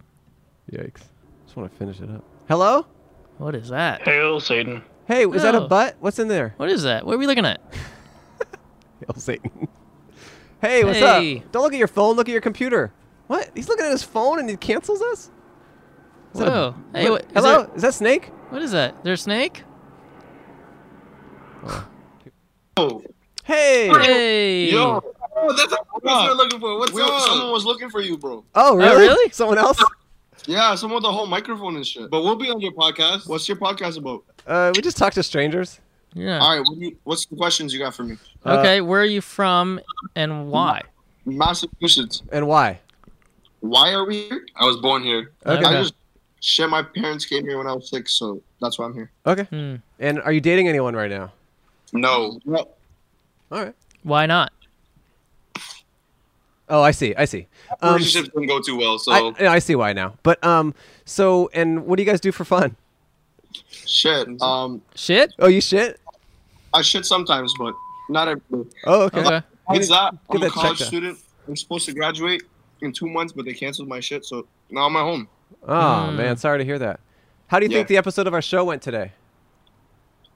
Speaker 2: Yikes. Just want to finish it up. Hello?
Speaker 1: What is that?
Speaker 12: Hail Satan.
Speaker 2: Hey, is that a
Speaker 1: Oh.
Speaker 2: butt? What's in there?
Speaker 1: What is that? What are we looking at?
Speaker 2: Hail Satan. Hey, what's
Speaker 1: Hey.
Speaker 2: up? Don't look at your phone. Look at your computer. What? He's looking at his phone and he cancels us? Is that a-
Speaker 1: Whoa. Hey, what, is
Speaker 2: hello?
Speaker 1: that-
Speaker 2: Is that Snake?
Speaker 1: What is that? Is there a snake?
Speaker 2: Hey.
Speaker 1: Hey.
Speaker 12: Yo.
Speaker 3: Oh, that's
Speaker 12: what we're
Speaker 3: looking for.
Speaker 12: What's up?
Speaker 3: Someone was looking for you, bro.
Speaker 2: Oh, really?
Speaker 1: really?
Speaker 2: Someone else?
Speaker 3: Yeah, someone with a whole microphone and shit. But we'll be on your podcast. What's your podcast about?
Speaker 2: Uh, we just talked to strangers.
Speaker 1: Yeah.
Speaker 3: All right. What do you, what's the questions you got for me?
Speaker 2: Uh,
Speaker 1: Okay, where are you from and why?
Speaker 3: Massachusetts.
Speaker 2: And why?
Speaker 3: Why are we here? I was born here.
Speaker 2: Okay.
Speaker 3: I just shit. My parents came here when I was six, so that's why I'm here.
Speaker 2: Okay.
Speaker 1: Hmm.
Speaker 2: And are you dating anyone right now?
Speaker 3: No. All
Speaker 2: right.
Speaker 1: Why not?
Speaker 2: Oh, I see. I see. Um,
Speaker 3: Relationships didn't go too well, so
Speaker 2: I, uh, yeah, I see why now. But um, so and what do you guys do for fun?
Speaker 3: shit. Um,
Speaker 1: Shit.
Speaker 2: Oh, you shit.
Speaker 3: I shit sometimes, but not every day.
Speaker 2: Oh, okay. Okay.
Speaker 3: It's that
Speaker 2: Get
Speaker 3: I'm a
Speaker 2: that
Speaker 3: college
Speaker 2: checked out.
Speaker 3: student. I'm supposed to graduate in two months, but they canceled my shit, so now I'm at home.
Speaker 2: Oh
Speaker 1: Hmm.
Speaker 2: man, sorry to hear that. How do you think the
Speaker 3: Yeah.
Speaker 2: episode of our show went today?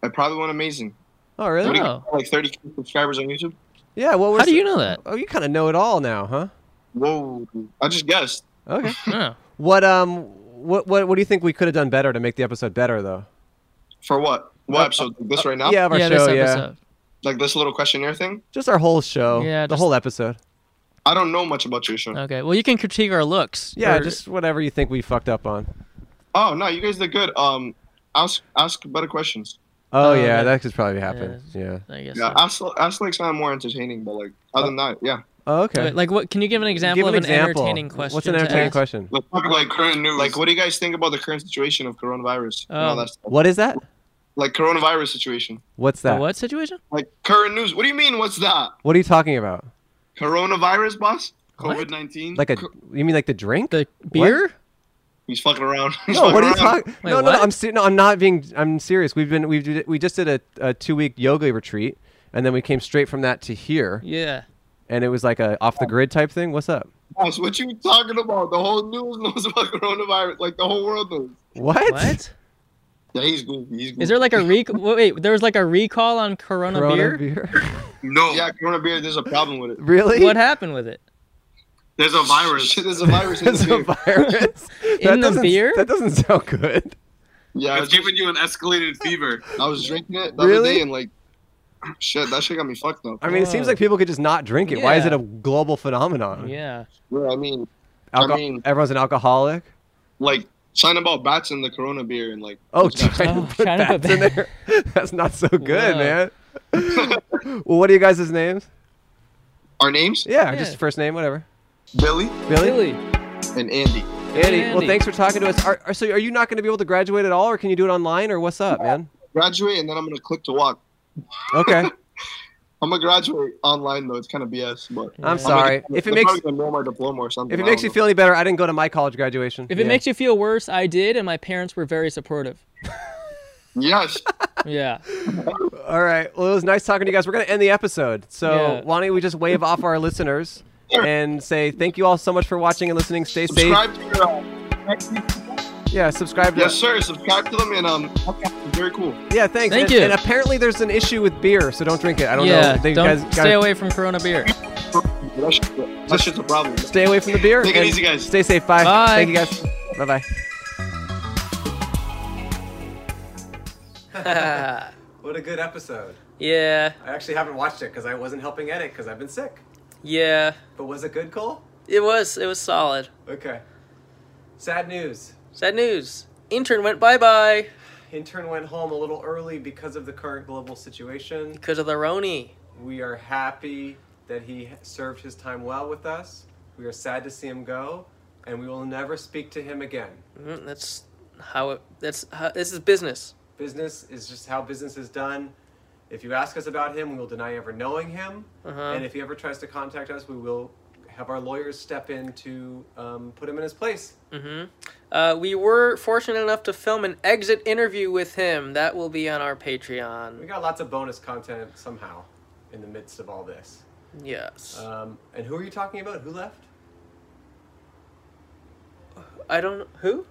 Speaker 3: I probably went amazing.
Speaker 2: Oh, really?
Speaker 3: What do you- Like 30 subscribers on YouTube.
Speaker 2: Yeah. Well, we're
Speaker 1: How do
Speaker 2: so-
Speaker 1: you know that?
Speaker 2: Oh, you kind of know it all now, huh?
Speaker 3: Whoa. I just guessed.
Speaker 2: Okay.
Speaker 1: Yeah.
Speaker 2: What um, what what what do you think we could have done better to make the episode better though?
Speaker 3: For what? What episode? This right now?
Speaker 2: Uh, yeah, of our Yeah, this show, yeah. episode.
Speaker 3: Like this little questionnaire thing?
Speaker 2: Just our whole show.
Speaker 1: Yeah,
Speaker 2: The
Speaker 1: just-
Speaker 2: whole episode.
Speaker 3: I don't know much about your show.
Speaker 2: Uh.
Speaker 1: Okay. Well, you can critique our looks.
Speaker 2: Yeah,
Speaker 1: or-
Speaker 2: just whatever you think we fucked up on.
Speaker 3: Oh no, you guys did good. Um, ask ask better questions.
Speaker 2: Oh,
Speaker 1: Oh,
Speaker 2: yeah,
Speaker 1: yeah.
Speaker 2: that could probably happen. Yeah.
Speaker 1: I guess.
Speaker 2: Uh.
Speaker 3: Yeah, ask ask like something more entertaining, but like other than that, yeah.
Speaker 2: Oh, okay.
Speaker 16: Like, what? Can you give an example
Speaker 2: Give an
Speaker 16: of an
Speaker 2: example.
Speaker 16: entertaining
Speaker 2: What's
Speaker 16: question?
Speaker 2: an entertaining
Speaker 16: to ask?
Speaker 2: question?
Speaker 3: Like, like current news. Like, what do you guys think about the current situation of coronavirus? and
Speaker 1: um,
Speaker 2: Um,
Speaker 3: all
Speaker 16: Oh.
Speaker 3: that stuff?
Speaker 2: What is that?
Speaker 3: Like coronavirus situation.
Speaker 2: What's that?
Speaker 16: What situation?
Speaker 3: Like current news. What do you mean? What's that?
Speaker 2: What are you talking about?
Speaker 3: Coronavirus, boss. COVID nineteen.
Speaker 2: Like a? You mean like the drink? The
Speaker 16: beer?
Speaker 3: He's fucking around. He's
Speaker 2: No,
Speaker 3: fucking
Speaker 2: what are you
Speaker 3: around.
Speaker 2: talking? No, no, no, I'm ser- no, I'm not being. I'm serious. We've been we did we just did a, a two week yoga retreat, and then we came straight from that to here.
Speaker 16: Yeah.
Speaker 2: And it was like a off the grid type thing. What's up?
Speaker 3: Boss, what you talking about? The whole news knows about coronavirus. Like the whole world knows.
Speaker 2: What?
Speaker 16: What?
Speaker 3: Yeah, he's goofy. He's goofy.
Speaker 16: Is there like a rec? wait, there was like a recall on Corona,
Speaker 3: Corona
Speaker 16: beer.
Speaker 3: No. Yeah, Corona beer. There's a problem with it.
Speaker 16: What happened with it?
Speaker 3: There's a virus. there's a virus in the beer.
Speaker 2: virus
Speaker 16: in the beer?
Speaker 2: That doesn't sound good.
Speaker 3: Yeah,
Speaker 17: it's giving you an escalated fever.
Speaker 3: I was drinking it the
Speaker 2: Really?
Speaker 3: other day and like, shit, that shit got me fucked up.
Speaker 2: I mean, it seems like people could just not drink it. Why is it a global phenomenon?
Speaker 16: Yeah.
Speaker 3: Yeah, I mean,
Speaker 2: Alco-
Speaker 3: I mean,
Speaker 2: everyone's an alcoholic.
Speaker 3: like China bought bats in the Corona beer and like.
Speaker 2: Oh, China put
Speaker 3: China put
Speaker 2: bats in there. That's not so good, man. well, what are you guys' names?
Speaker 3: Our names?
Speaker 2: Yeah, just first name, whatever.
Speaker 3: Billy.
Speaker 2: Billy.
Speaker 3: And Andy.
Speaker 2: Andy, well, thanks for talking to us. Are, are, so, are you not going to be able to graduate at all, or can you do it online, or what's up, man?
Speaker 3: Graduate and then I'm gonna click to walk.
Speaker 2: Okay.
Speaker 3: I'm gonna graduate online though. It's kind of BS, but
Speaker 2: I'm sorry. If it makes-
Speaker 3: me know my diploma or something.
Speaker 2: If it
Speaker 3: I
Speaker 2: makes
Speaker 3: don't
Speaker 2: you feel any better, I didn't go to my college graduation.
Speaker 16: If it
Speaker 2: Yeah.
Speaker 16: makes you feel worse, I did, and my parents were very supportive.
Speaker 3: know. yes,
Speaker 16: Yeah.
Speaker 2: all right. Well, it was nice talking to you guys. We're going to end the episode. So,
Speaker 16: Yeah.
Speaker 2: why don't we just wave off our listeners and say thank you all so much for watching and listening. Stay
Speaker 3: subscribe
Speaker 2: safe.
Speaker 3: to your. Uh,
Speaker 2: Yeah, subscribe. To
Speaker 3: yes, sir. Subscribe to them and um, very cool.
Speaker 2: Yeah, thanks.
Speaker 16: Thank
Speaker 2: and,
Speaker 16: you.
Speaker 2: And apparently, there's an issue with beer, so don't drink it. I don't
Speaker 16: yeah.
Speaker 2: know. They
Speaker 16: don't
Speaker 2: guys,
Speaker 16: stay
Speaker 2: guys-
Speaker 16: away from Corona beer.
Speaker 3: That shit's a- that shit's a problem.
Speaker 2: Stay away from the beer.
Speaker 3: Take it
Speaker 2: and
Speaker 3: easy, guys.
Speaker 2: Stay safe. Bye.
Speaker 3: Bye.
Speaker 2: Thank you, guys. Bye bye. What a good episode.
Speaker 1: yeah.
Speaker 2: I actually haven't watched it because I wasn't helping edit because I've been sick.
Speaker 1: Yeah.
Speaker 2: But was it good, Cole?
Speaker 1: It was. It was solid.
Speaker 2: Okay. Sad news.
Speaker 1: Sad news. Intern went bye bye
Speaker 2: Intern went home a little early because of the current global situation.
Speaker 1: because of the Roni.
Speaker 2: We are happy that he served his time well with us. We are sad to see him go, and we will never speak to him again.
Speaker 1: Mm, that's how it. That's how, this is business.
Speaker 2: Business is just how business is done. If you ask us about him, we will deny ever knowing him.
Speaker 1: Uh-huh.
Speaker 2: And if he ever tries to contact us, we will have our lawyers step in to um, put him in his place.
Speaker 1: Mm-hmm. Uh, we were fortunate enough to film an exit interview with him. That will be on our
Speaker 2: We
Speaker 1: Patreon.
Speaker 2: got lots of bonus content somehow in the midst of all this.
Speaker 1: Yes.
Speaker 2: Um, and who are you talking about? Who left?
Speaker 1: I don't. Who?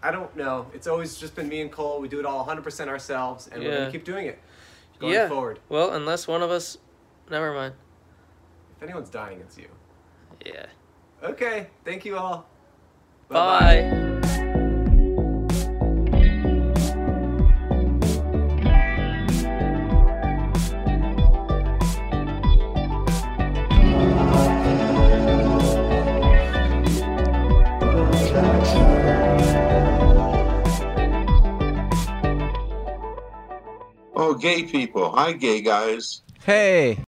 Speaker 2: I don't know. It's always just been me and Cole. We do it all 100% ourselves, and we're going
Speaker 1: Yeah.
Speaker 2: to keep doing it going
Speaker 1: yeah.
Speaker 2: forward.
Speaker 1: Well, unless one of us. Never mind.
Speaker 2: If anyone's dying, it's you.
Speaker 1: Yeah.
Speaker 2: Okay. Thank you all.
Speaker 1: Bye.
Speaker 18: Oh, gay people. Hi, gay guys.
Speaker 2: Hey.